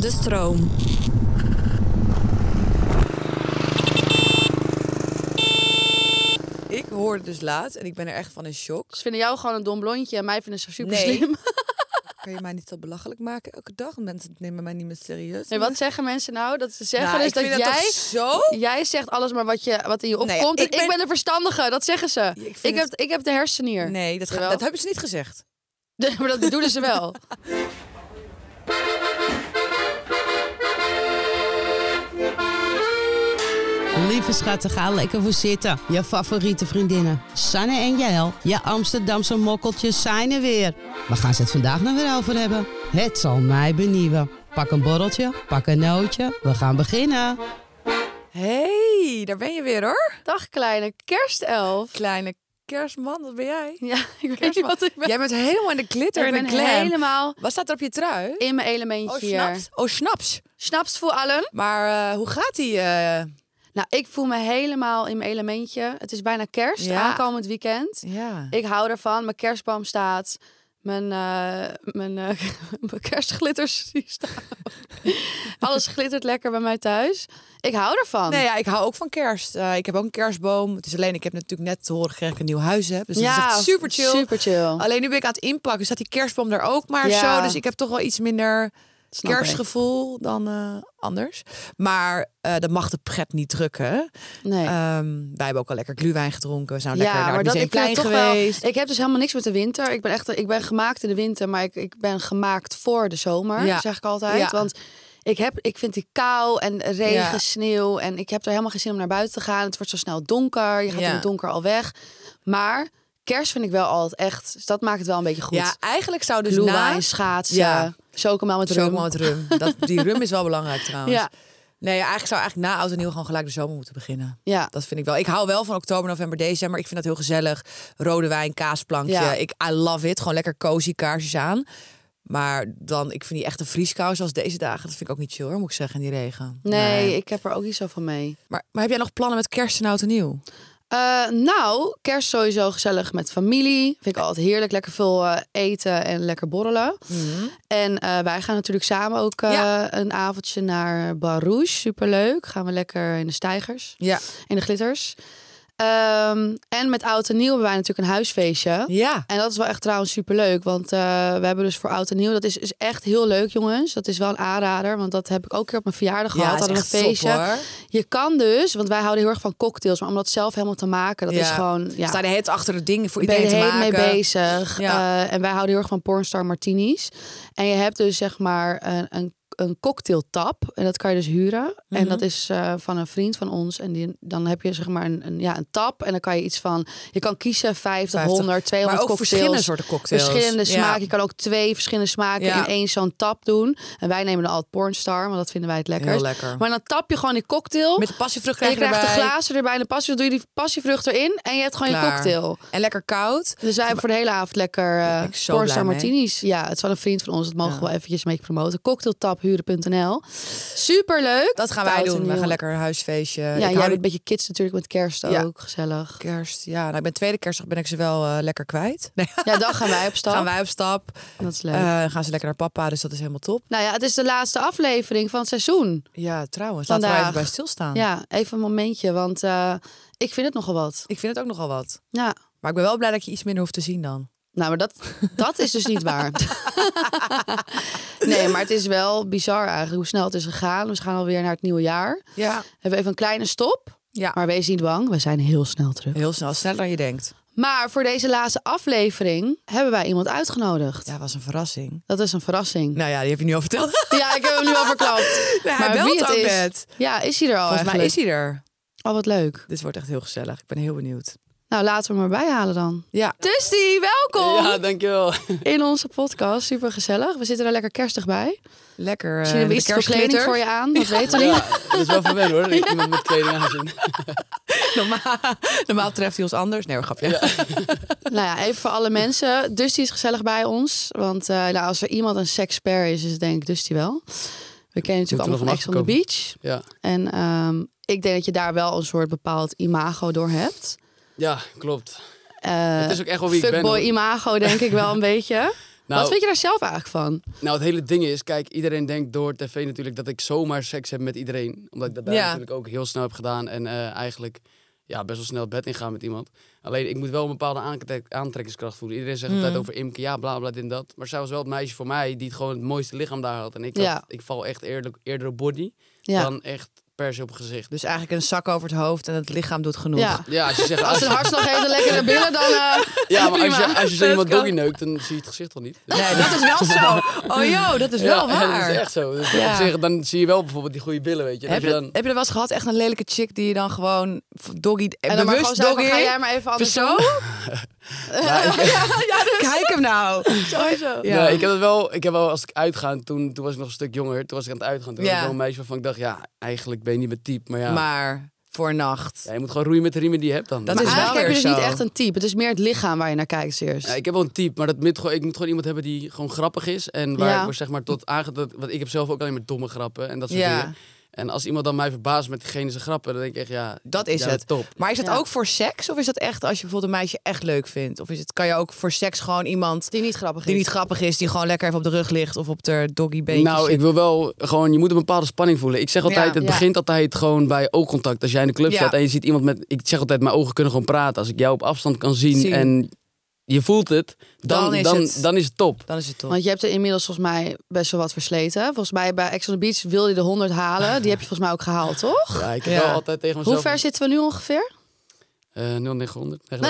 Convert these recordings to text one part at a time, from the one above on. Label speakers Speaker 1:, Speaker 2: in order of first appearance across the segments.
Speaker 1: de stroom.
Speaker 2: Ik hoorde dus laat en ik ben er echt van in shock. Dus
Speaker 3: Ze vinden jou gewoon een dom blondje en mij vinden ze super
Speaker 2: Nee.
Speaker 3: slim.
Speaker 2: Kan je mij niet zo belachelijk maken elke dag? Mensen nemen mij niet meer serieus.
Speaker 3: Nee, wat zeggen mensen nou? Dat ze zeggen
Speaker 2: Nou,
Speaker 3: dus
Speaker 2: ik
Speaker 3: dat
Speaker 2: vind
Speaker 3: jij...
Speaker 2: toch zo...
Speaker 3: Jij zegt alles maar wat, je, wat in je opkomt.
Speaker 2: Nee,
Speaker 3: en
Speaker 2: ik
Speaker 3: ik,
Speaker 2: ben-
Speaker 3: ben... de verstandige, dat zeggen ze.
Speaker 2: vind
Speaker 3: Ik,
Speaker 2: het-
Speaker 3: heb, ik heb de hersenen hier.
Speaker 2: Nee, dat, ga-
Speaker 3: Jawel.
Speaker 2: dat hebben ze niet gezegd.
Speaker 3: maar dat doen ze wel.
Speaker 4: Lieve schatten, ga lekker voor zitten. Je favoriete vriendinnen, Sanne en Jael. Je Amsterdamse mokkeltjes zijn er weer. Waar gaan ze het vandaag nou weer over hebben? Het zal mij benieuwen. Pak een borreltje, pak een nootje. We gaan beginnen.
Speaker 2: hey, daar ben je weer hoor.
Speaker 3: Dag kleine kerstelf.
Speaker 2: Kleine kerstman, wat ben jij?
Speaker 3: Ja, ik weet niet
Speaker 2: Kerstman.
Speaker 3: wat ik ben.
Speaker 2: Jij bent helemaal in de glitter
Speaker 3: ik
Speaker 2: en
Speaker 3: ben
Speaker 2: de glam.
Speaker 3: helemaal
Speaker 2: Wat staat er op je trui?
Speaker 3: in mijn elementje
Speaker 2: Oh,
Speaker 3: hier.
Speaker 2: snaps. Oh, snaps.
Speaker 3: Snaps voor allen?
Speaker 2: Maar eh, hoe gaat die? eh?
Speaker 3: Nou, ik voel me helemaal in mijn elementje. Het is bijna kerst,
Speaker 2: Ja.
Speaker 3: aankomend weekend.
Speaker 2: ja.
Speaker 3: Ik hou ervan. Mijn kerstboom staat. Mijn, eh, mijn, eh, mijn kerstglitters die staan. Alles glittert lekker bij mij thuis. Ik hou ervan.
Speaker 2: Nee, ja, ik hou ook van kerst. Eh, ik heb ook een kerstboom. Het is alleen, ik heb natuurlijk net te horen gekregen dat ik een nieuw huis heb. Dus dat is echt super chill.
Speaker 3: Super chill.
Speaker 2: Alleen nu ben ik aan het inpakken. Dus staat die kerstboom er ook maar
Speaker 3: Ja.
Speaker 2: zo. Dus ik heb toch wel iets minder
Speaker 3: Snap
Speaker 2: kerstgevoel dan eh, anders. Maar eh, dat mag de pret niet drukken.
Speaker 3: Nee.
Speaker 2: Ehm, wij hebben ook al lekker gluwijn gedronken. We zijn
Speaker 3: ja,
Speaker 2: lekker naar
Speaker 3: maar
Speaker 2: het
Speaker 3: dat ik vind
Speaker 2: museumplein
Speaker 3: het toch
Speaker 2: geweest.
Speaker 3: wel. Ik heb dus helemaal niks met de winter. Ik ben echt, ik ben gemaakt in de winter, maar ik, ik ben gemaakt voor de zomer,
Speaker 2: Ja.
Speaker 3: zeg ik altijd.
Speaker 2: Ja.
Speaker 3: Want ik heb, ik vind die kou en regen,
Speaker 2: Ja.
Speaker 3: sneeuw en ik heb er helemaal geen zin om naar buiten te gaan. Het wordt zo snel donker. Je gaat
Speaker 2: Ja.
Speaker 3: in het donker al weg. Maar kerst vind ik wel altijd echt. Dus dat maakt het wel een beetje goed.
Speaker 2: Ja, eigenlijk zou dus
Speaker 3: Gluwijn,
Speaker 2: na...
Speaker 3: schaatsen,
Speaker 2: Ja.
Speaker 3: chocomel met rum.
Speaker 2: Chocomel met rum. Dat, die rum is wel belangrijk trouwens.
Speaker 3: Ja.
Speaker 2: Nee, eigenlijk zou eigenlijk na oud en nieuw gewoon gelijk de zomer moeten beginnen.
Speaker 3: Ja.
Speaker 2: Dat vind ik wel. Ik hou wel van oktober, november, december. Ik vind dat heel gezellig. Rode wijn, kaasplankje.
Speaker 3: Ja.
Speaker 2: Ik, I love it. Gewoon lekker cozy kaarsjes aan. Maar dan, ik vind die echte vrieskou zoals deze dagen, dat vind ik ook niet chill hoor, moet ik zeggen, in die regen.
Speaker 3: Nee, ik heb er ook niet zo van mee.
Speaker 2: Maar, maar heb jij nog plannen met kerst en oud en nieuw?
Speaker 3: Eh, nou, kerst sowieso gezellig met familie. Vind ik altijd heerlijk. Lekker veel eh, eten en lekker borrelen. En eh, wij gaan natuurlijk samen ook eh,
Speaker 2: Mhm. Ja.
Speaker 3: een avondje naar Barouche. Superleuk. Gaan we lekker in de stijgers,
Speaker 2: Ja.
Speaker 3: in de glitters. Ehm, en met oud en nieuw hebben wij natuurlijk een huisfeestje.
Speaker 2: Ja.
Speaker 3: En dat is wel echt trouwens superleuk. Want eh, we hebben dus voor oud en nieuw. Dat is, is echt heel leuk, jongens. Dat is wel een aanrader. Want dat heb ik ook een keer op mijn verjaardag
Speaker 2: Ja,
Speaker 3: gehad.
Speaker 2: is
Speaker 3: Hadden we
Speaker 2: echt
Speaker 3: een feestje.
Speaker 2: top, hoor.
Speaker 3: Je kan dus, want wij houden heel erg van cocktails, maar om dat zelf helemaal te maken, dat
Speaker 2: Ja.
Speaker 3: is gewoon. Ja,
Speaker 2: Sta de het achter de dingen voor
Speaker 3: ben je
Speaker 2: iedereen
Speaker 3: er
Speaker 2: te
Speaker 3: helemaal mee
Speaker 2: maken.
Speaker 3: bezig.
Speaker 2: Ja.
Speaker 3: Eh, en wij houden heel erg van pornstar martinis. En je hebt dus zeg maar een, een, een cocktailtap. En dat kan je dus huren. En
Speaker 2: Mhm.
Speaker 3: dat is eh, van een vriend van ons. En die, dan heb je zeg maar een, een, ja, een tap. En dan kan je iets van... Je kan kiezen 50,
Speaker 2: 50,
Speaker 3: 100, 200
Speaker 2: maar ook
Speaker 3: cocktails.
Speaker 2: verschillende soorten cocktails.
Speaker 3: Verschillende
Speaker 2: Ja.
Speaker 3: smaken. Je kan ook twee verschillende smaken
Speaker 2: Ja.
Speaker 3: in één zo'n tap doen. En wij nemen dan altijd pornstar, want dat vinden wij het lekker.
Speaker 2: Heel lekker.
Speaker 3: Maar dan tap je gewoon die cocktail.
Speaker 2: Met de passievrucht
Speaker 3: En
Speaker 2: krijg
Speaker 3: je
Speaker 2: je,
Speaker 3: krijgt de
Speaker 2: erbij.
Speaker 3: glazen erbij en de passie, doe je die passievrucht erin en je hebt gewoon je
Speaker 2: Klaar.
Speaker 3: cocktail.
Speaker 2: En lekker koud.
Speaker 3: Dus wij hebben voor de hele avond lekker
Speaker 2: ben
Speaker 3: eh
Speaker 2: ik zo
Speaker 3: Pornstar
Speaker 2: blij mee.
Speaker 3: Martinis. Ja, het is wel een vriend van ons, dat mogen we wel eventjes mee promoten. Cocktailtaphuren.nl. Superleuk.
Speaker 2: Dat gaan wij
Speaker 3: Oud en
Speaker 2: doen. We
Speaker 3: nieuw.
Speaker 2: gaan lekker een huisfeestje.
Speaker 3: Ja,
Speaker 2: Ik
Speaker 3: jij
Speaker 2: hou
Speaker 3: bent
Speaker 2: er-
Speaker 3: een beetje kids natuurlijk met kerst
Speaker 2: Ja.
Speaker 3: ook, gezellig.
Speaker 2: kerst. Ja, nou, ik ben tweede kerstdag ben ik ze wel eh, lekker kwijt. Nee,
Speaker 3: Ja, dan gaan wij op stap.
Speaker 2: gaan wij op stap.
Speaker 3: Dat is leuk.
Speaker 2: Eh, dan gaan ze lekker naar papa, dus dat is helemaal top.
Speaker 3: Nou ja, het is de laatste aflevering van het seizoen.
Speaker 2: Ja, trouwens, laten we
Speaker 3: Vandaag.
Speaker 2: er even bij stilstaan.
Speaker 3: Ja, even een momentje, want eh, ik vind het nogal wat.
Speaker 2: Ik vind het ook nogal wat.
Speaker 3: Ja.
Speaker 2: Maar ik ben wel blij dat je iets minder hoeft te zien dan.
Speaker 3: Nou, maar dat, dat is dus niet waar. nee, maar het is wel bizar eigenlijk hoe snel het is gegaan. We gaan alweer naar het nieuwe jaar.
Speaker 2: Ja.
Speaker 3: Hebben we even een kleine stop.
Speaker 2: Ja.
Speaker 3: Maar wees niet bang, we zijn heel snel terug.
Speaker 2: Heel snel, sneller dan je denkt.
Speaker 3: Maar voor deze laatste aflevering hebben wij iemand uitgenodigd.
Speaker 2: Ja, was een verrassing.
Speaker 3: Dat is een verrassing.
Speaker 2: Nou ja, die heb je nu al verteld.
Speaker 3: Ja, ik heb hem nu al verklapt.
Speaker 2: hij
Speaker 3: maar
Speaker 2: belt
Speaker 3: wie het
Speaker 2: ook
Speaker 3: is,
Speaker 2: net.
Speaker 3: Ja, is hij er al
Speaker 2: Volgens mij
Speaker 3: eigenlijk?
Speaker 2: is hij er.
Speaker 3: Oh, wat leuk.
Speaker 2: Dit wordt echt heel gezellig. Ik ben heel benieuwd.
Speaker 3: Nou, laten we hem erbij halen dan.
Speaker 2: Ja.
Speaker 3: Dusty, welkom
Speaker 5: Ja, dankjewel.
Speaker 3: in onze podcast. Super gezellig. We zitten er lekker kerstig bij.
Speaker 2: Lekker. eh,
Speaker 3: Misschien hebben
Speaker 2: de
Speaker 3: we iets voor kleding
Speaker 2: kerstglitter.
Speaker 3: voor je aan, dat weten we niet.
Speaker 5: Ja, dat is wel verwennen hoor, dat ik iemand met kleding aanzien.
Speaker 2: Normaal, normaal treft hij ons anders. Nee, hoor, grapje.
Speaker 3: Nou ja, even voor alle mensen. Dusty is gezellig bij ons. Want eh, nou, als er iemand een seksper is, is het denk ik Dusty wel. We kennen
Speaker 5: Moet er
Speaker 3: natuurlijk allemaal
Speaker 5: nog
Speaker 3: van
Speaker 5: een
Speaker 3: Ex on the
Speaker 5: achterkomen.
Speaker 3: Beach.
Speaker 5: Ja.
Speaker 3: En ehm, ik denk dat je daar wel een soort bepaald imago door hebt.
Speaker 5: ja, klopt.
Speaker 3: Eh,
Speaker 5: Het is ook echt wel wie ik ben.
Speaker 3: Fuckboy
Speaker 5: hoor.
Speaker 3: imago denk ik wel een beetje. Wat
Speaker 5: Nou,
Speaker 3: vind je daar zelf eigenlijk van?
Speaker 5: nou, het hele ding is, kijk, iedereen denkt door tv natuurlijk dat ik zomaar seks heb met iedereen. Omdat ik dat daar
Speaker 2: Ja.
Speaker 5: natuurlijk ook heel snel heb gedaan. En eh, eigenlijk ja, best wel snel het bed ingaan met iemand. Alleen, ik moet wel een bepaalde aantrek- aantrekkingskracht voelen. Iedereen zegt altijd over Imke, ja, bla, bla, dit en dat. Maar zij was wel het meisje voor mij die het gewoon het mooiste lichaam daar had. En ik,
Speaker 3: Ja.
Speaker 5: had- ik val echt eerder, eerder op body
Speaker 3: Ja.
Speaker 5: dan echt per se op gezicht.
Speaker 2: Dus eigenlijk een zak over het hoofd en het lichaam doet genoeg.
Speaker 3: ja.
Speaker 5: Ja, als je zegt...
Speaker 3: Als het hartslag heeft en lekker naar binnen, dan... eh,
Speaker 5: ja, maar als je,
Speaker 3: prima.
Speaker 5: als je zo iemand doggy neukt, dan zie je het gezicht toch niet?
Speaker 2: Nee, dat is wel zo. Oh joh, dat is wel
Speaker 5: ja,
Speaker 2: waar.
Speaker 5: dat is echt zo. Dus
Speaker 2: Ja.
Speaker 5: op zich, dan zie je wel bijvoorbeeld die goede billen, weet je.
Speaker 2: Heb je,
Speaker 5: je
Speaker 2: dat-
Speaker 5: dan...
Speaker 2: heb je er wel eens gehad, echt een lelijke chick die je dan gewoon f- doggy,
Speaker 3: En
Speaker 2: en
Speaker 3: dan maar gewoon
Speaker 2: bewust
Speaker 3: zeggen,
Speaker 2: doggy,
Speaker 3: ga jij maar even anders
Speaker 2: zo? Kijk hem nou.
Speaker 3: Sowieso.
Speaker 2: Ja.
Speaker 5: Ja. ik heb het wel, ik heb wel als ik uitga, toen, toen was ik nog een stuk jonger, toen was ik aan het uitgaan. Toen
Speaker 2: Ja.
Speaker 5: was ik wel een meisje waarvan ik dacht, ja, eigenlijk ben je niet mijn type, maar ja.
Speaker 2: Maar voor een nacht.
Speaker 5: ja, je moet gewoon roeien met de riemen die je hebt dan.
Speaker 2: Dat
Speaker 5: Maar
Speaker 2: is wel
Speaker 3: Eigenlijk heb je
Speaker 2: weer
Speaker 3: dus niet
Speaker 2: zo.
Speaker 3: echt een type. Het is meer het lichaam waar je naar kijkt dus eerst.
Speaker 5: Ja, ik heb wel een type, maar dat moet gewoon, ik moet gewoon iemand hebben die gewoon grappig is. En waar
Speaker 3: Ja.
Speaker 5: ik word, zeg maar tot aange... dat- Want ik heb zelf ook alleen maar domme grappen en dat soort
Speaker 2: Ja.
Speaker 5: dingen. En als iemand dan mij verbaast met diegene zijn grappen, dan denk ik echt, ja...
Speaker 2: Dat is
Speaker 5: ja,
Speaker 2: het.
Speaker 5: Top.
Speaker 2: Maar is dat
Speaker 3: Ja.
Speaker 2: ook voor seks? Of is dat echt als je bijvoorbeeld een meisje echt leuk vindt? Of is het, kan je ook voor seks gewoon iemand
Speaker 3: Die niet grappig is.
Speaker 2: die niet grappig is, die gewoon lekker even op de rug ligt of op de doggy beentje
Speaker 5: Nou, ik wil wel gewoon, je moet een bepaalde spanning voelen. Ik zeg altijd,
Speaker 2: Ja.
Speaker 3: Ja.
Speaker 5: het begint altijd gewoon bij oogcontact. Als jij in de club
Speaker 2: Ja.
Speaker 5: staat en je ziet iemand met, ik zeg altijd, mijn ogen kunnen gewoon praten. Als ik jou op afstand kan zien,
Speaker 2: Zien.
Speaker 5: en je voelt het, dan,
Speaker 2: Dan
Speaker 5: dan,
Speaker 2: is
Speaker 5: dan,
Speaker 2: het.
Speaker 5: is het top.
Speaker 2: Dan is het toch.
Speaker 3: Want je hebt er inmiddels volgens mij best wel wat versleten. Volgens mij bij Ex on the Beach wilde je de 100 halen. Die heb je volgens mij ook gehaald, toch?
Speaker 5: Ja, ik heb
Speaker 2: Ja.
Speaker 5: wel altijd tegen mezelf...
Speaker 3: Hoe ver zitten we nu ongeveer?
Speaker 5: Eh, 0900.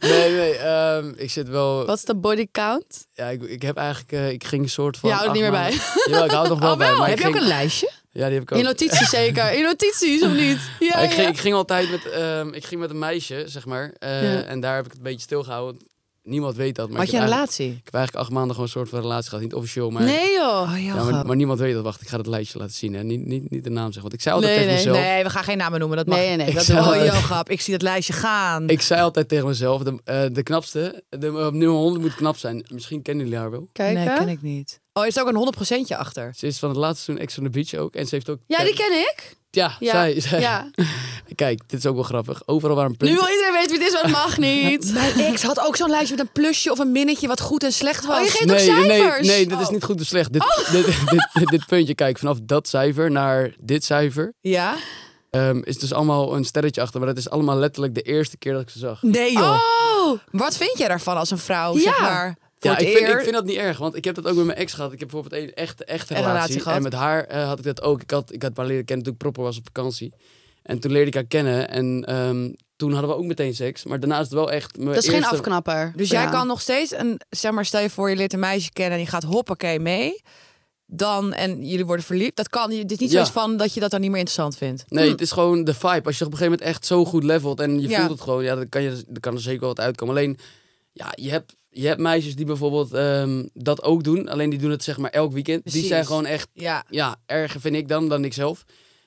Speaker 5: Nee, nee, nee ehm, ik zit wel...
Speaker 3: Wat is de body count?
Speaker 5: Ja, ik, ik heb eigenlijk, eh, ik ging een soort van...
Speaker 3: Je houdt er niet
Speaker 5: acht
Speaker 3: meer bij.
Speaker 5: maanden- Jawel, ik hou er nog wel,
Speaker 3: Oh,
Speaker 5: bij.
Speaker 3: wel?
Speaker 5: Maar
Speaker 2: heb
Speaker 5: ik
Speaker 2: je ook
Speaker 5: ging-
Speaker 2: een lijstje?
Speaker 5: Ja, die heb ik ook.
Speaker 3: In notities zeker. In notities of niet? Ja,
Speaker 5: ik, ging,
Speaker 3: ja.
Speaker 5: ik ging altijd met, ehm, ik ging met een meisje, zeg maar. eh,
Speaker 3: Ja.
Speaker 5: En daar heb ik het een beetje stilgehouden. Niemand weet dat. Maar
Speaker 2: Had
Speaker 5: ik
Speaker 2: je een
Speaker 5: heb eigenlijk-
Speaker 2: relatie?
Speaker 5: Ik heb eigenlijk acht maanden gewoon een soort van relatie gehad. Niet officieel, maar...
Speaker 3: Nee joh.
Speaker 2: Oh,
Speaker 5: Ja, maar, maar niemand weet dat. Wacht, ik ga dat lijstje laten zien. Hè. Niet, niet, niet de naam zeggen. Want ik zei altijd
Speaker 3: Nee,
Speaker 5: tegen mezelf...
Speaker 2: Nee, we gaan geen namen noemen. Dat mag.
Speaker 3: Nee, nee, nee,
Speaker 2: oh,
Speaker 5: dat doen we niet.
Speaker 2: joh, grap. Ik zie dat lijstje gaan.
Speaker 5: Ik zei altijd tegen mezelf, de, eh, de knapste, de, op nummer 100 moet knap zijn. Misschien kennen jullie haar wel.
Speaker 3: Kijk,
Speaker 2: nee,
Speaker 3: hè?
Speaker 2: ken ik niet. Oh, is er ook een 100 procentje achter?
Speaker 5: Ze is van het laatste seizoen Ex on the Beach ook. En ze heeft ook...
Speaker 3: Ja, die ken ik.
Speaker 5: Ja,
Speaker 3: Ja.
Speaker 5: zij. zij.
Speaker 3: Ja.
Speaker 5: Kijk, dit is ook wel grappig. Overal waar een punt...
Speaker 3: Nu wil iedereen weten wie het is, maar dat mag niet.
Speaker 2: Mijn ex had ook zo'n lijstje met een plusje of een minnetje wat goed en slecht was.
Speaker 3: Oh, je geeft
Speaker 5: nee,
Speaker 3: ook
Speaker 5: nee,
Speaker 3: cijfers.
Speaker 5: nee, dit is
Speaker 3: Oh.
Speaker 5: niet goed of slecht. Dit, dit, dit, dit, dit puntje, kijk, vanaf dat cijfer naar dit cijfer
Speaker 2: Ja?
Speaker 5: ehm, is dus allemaal een sterretje achter. Maar dat is allemaal letterlijk de eerste keer dat ik ze zag.
Speaker 2: Nee, joh.
Speaker 3: Oh.
Speaker 2: Wat vind jij daarvan als een vrouw,
Speaker 3: Ja.
Speaker 2: zeg maar, voor
Speaker 5: ja,
Speaker 2: het
Speaker 5: ik vind,
Speaker 2: eer-
Speaker 5: ik vind dat niet erg, want ik heb dat ook met mijn ex gehad. Ik heb bijvoorbeeld een echte, echte
Speaker 2: Een
Speaker 5: relatie,
Speaker 2: relatie gehad.
Speaker 5: En met haar eh, had ik dat ook. Ik had, ik had haar leren kennen toen ik proper was op vakantie. En toen leerde ik haar kennen en ehm, toen hadden we ook meteen seks. Maar daarna is het wel echt mijn
Speaker 3: Dat is geen
Speaker 5: eerste...
Speaker 3: afknapper.
Speaker 2: Dus
Speaker 3: Ja.
Speaker 2: jij kan nog steeds een, zeg maar, stel je voor, je leert een meisje kennen en die gaat hoppakee mee. Dan, en jullie worden verliefd. Dat kan, dit is niet
Speaker 5: Ja.
Speaker 2: zoiets van dat je dat dan niet meer interessant vindt.
Speaker 3: Hm.
Speaker 5: Nee, het is gewoon de vibe. Als je op een gegeven moment echt zo goed levelt en je
Speaker 2: Ja.
Speaker 5: voelt het gewoon, ja, dan kan, je, dan kan er zeker wel wat uitkomen. Alleen, ja, je hebt, je hebt meisjes die bijvoorbeeld ehm, dat ook doen. Alleen die doen het zeg maar elk weekend.
Speaker 2: Precies.
Speaker 5: Die zijn gewoon echt,
Speaker 2: Ja,
Speaker 5: ja, erger vind ik dan, dan ik zelf.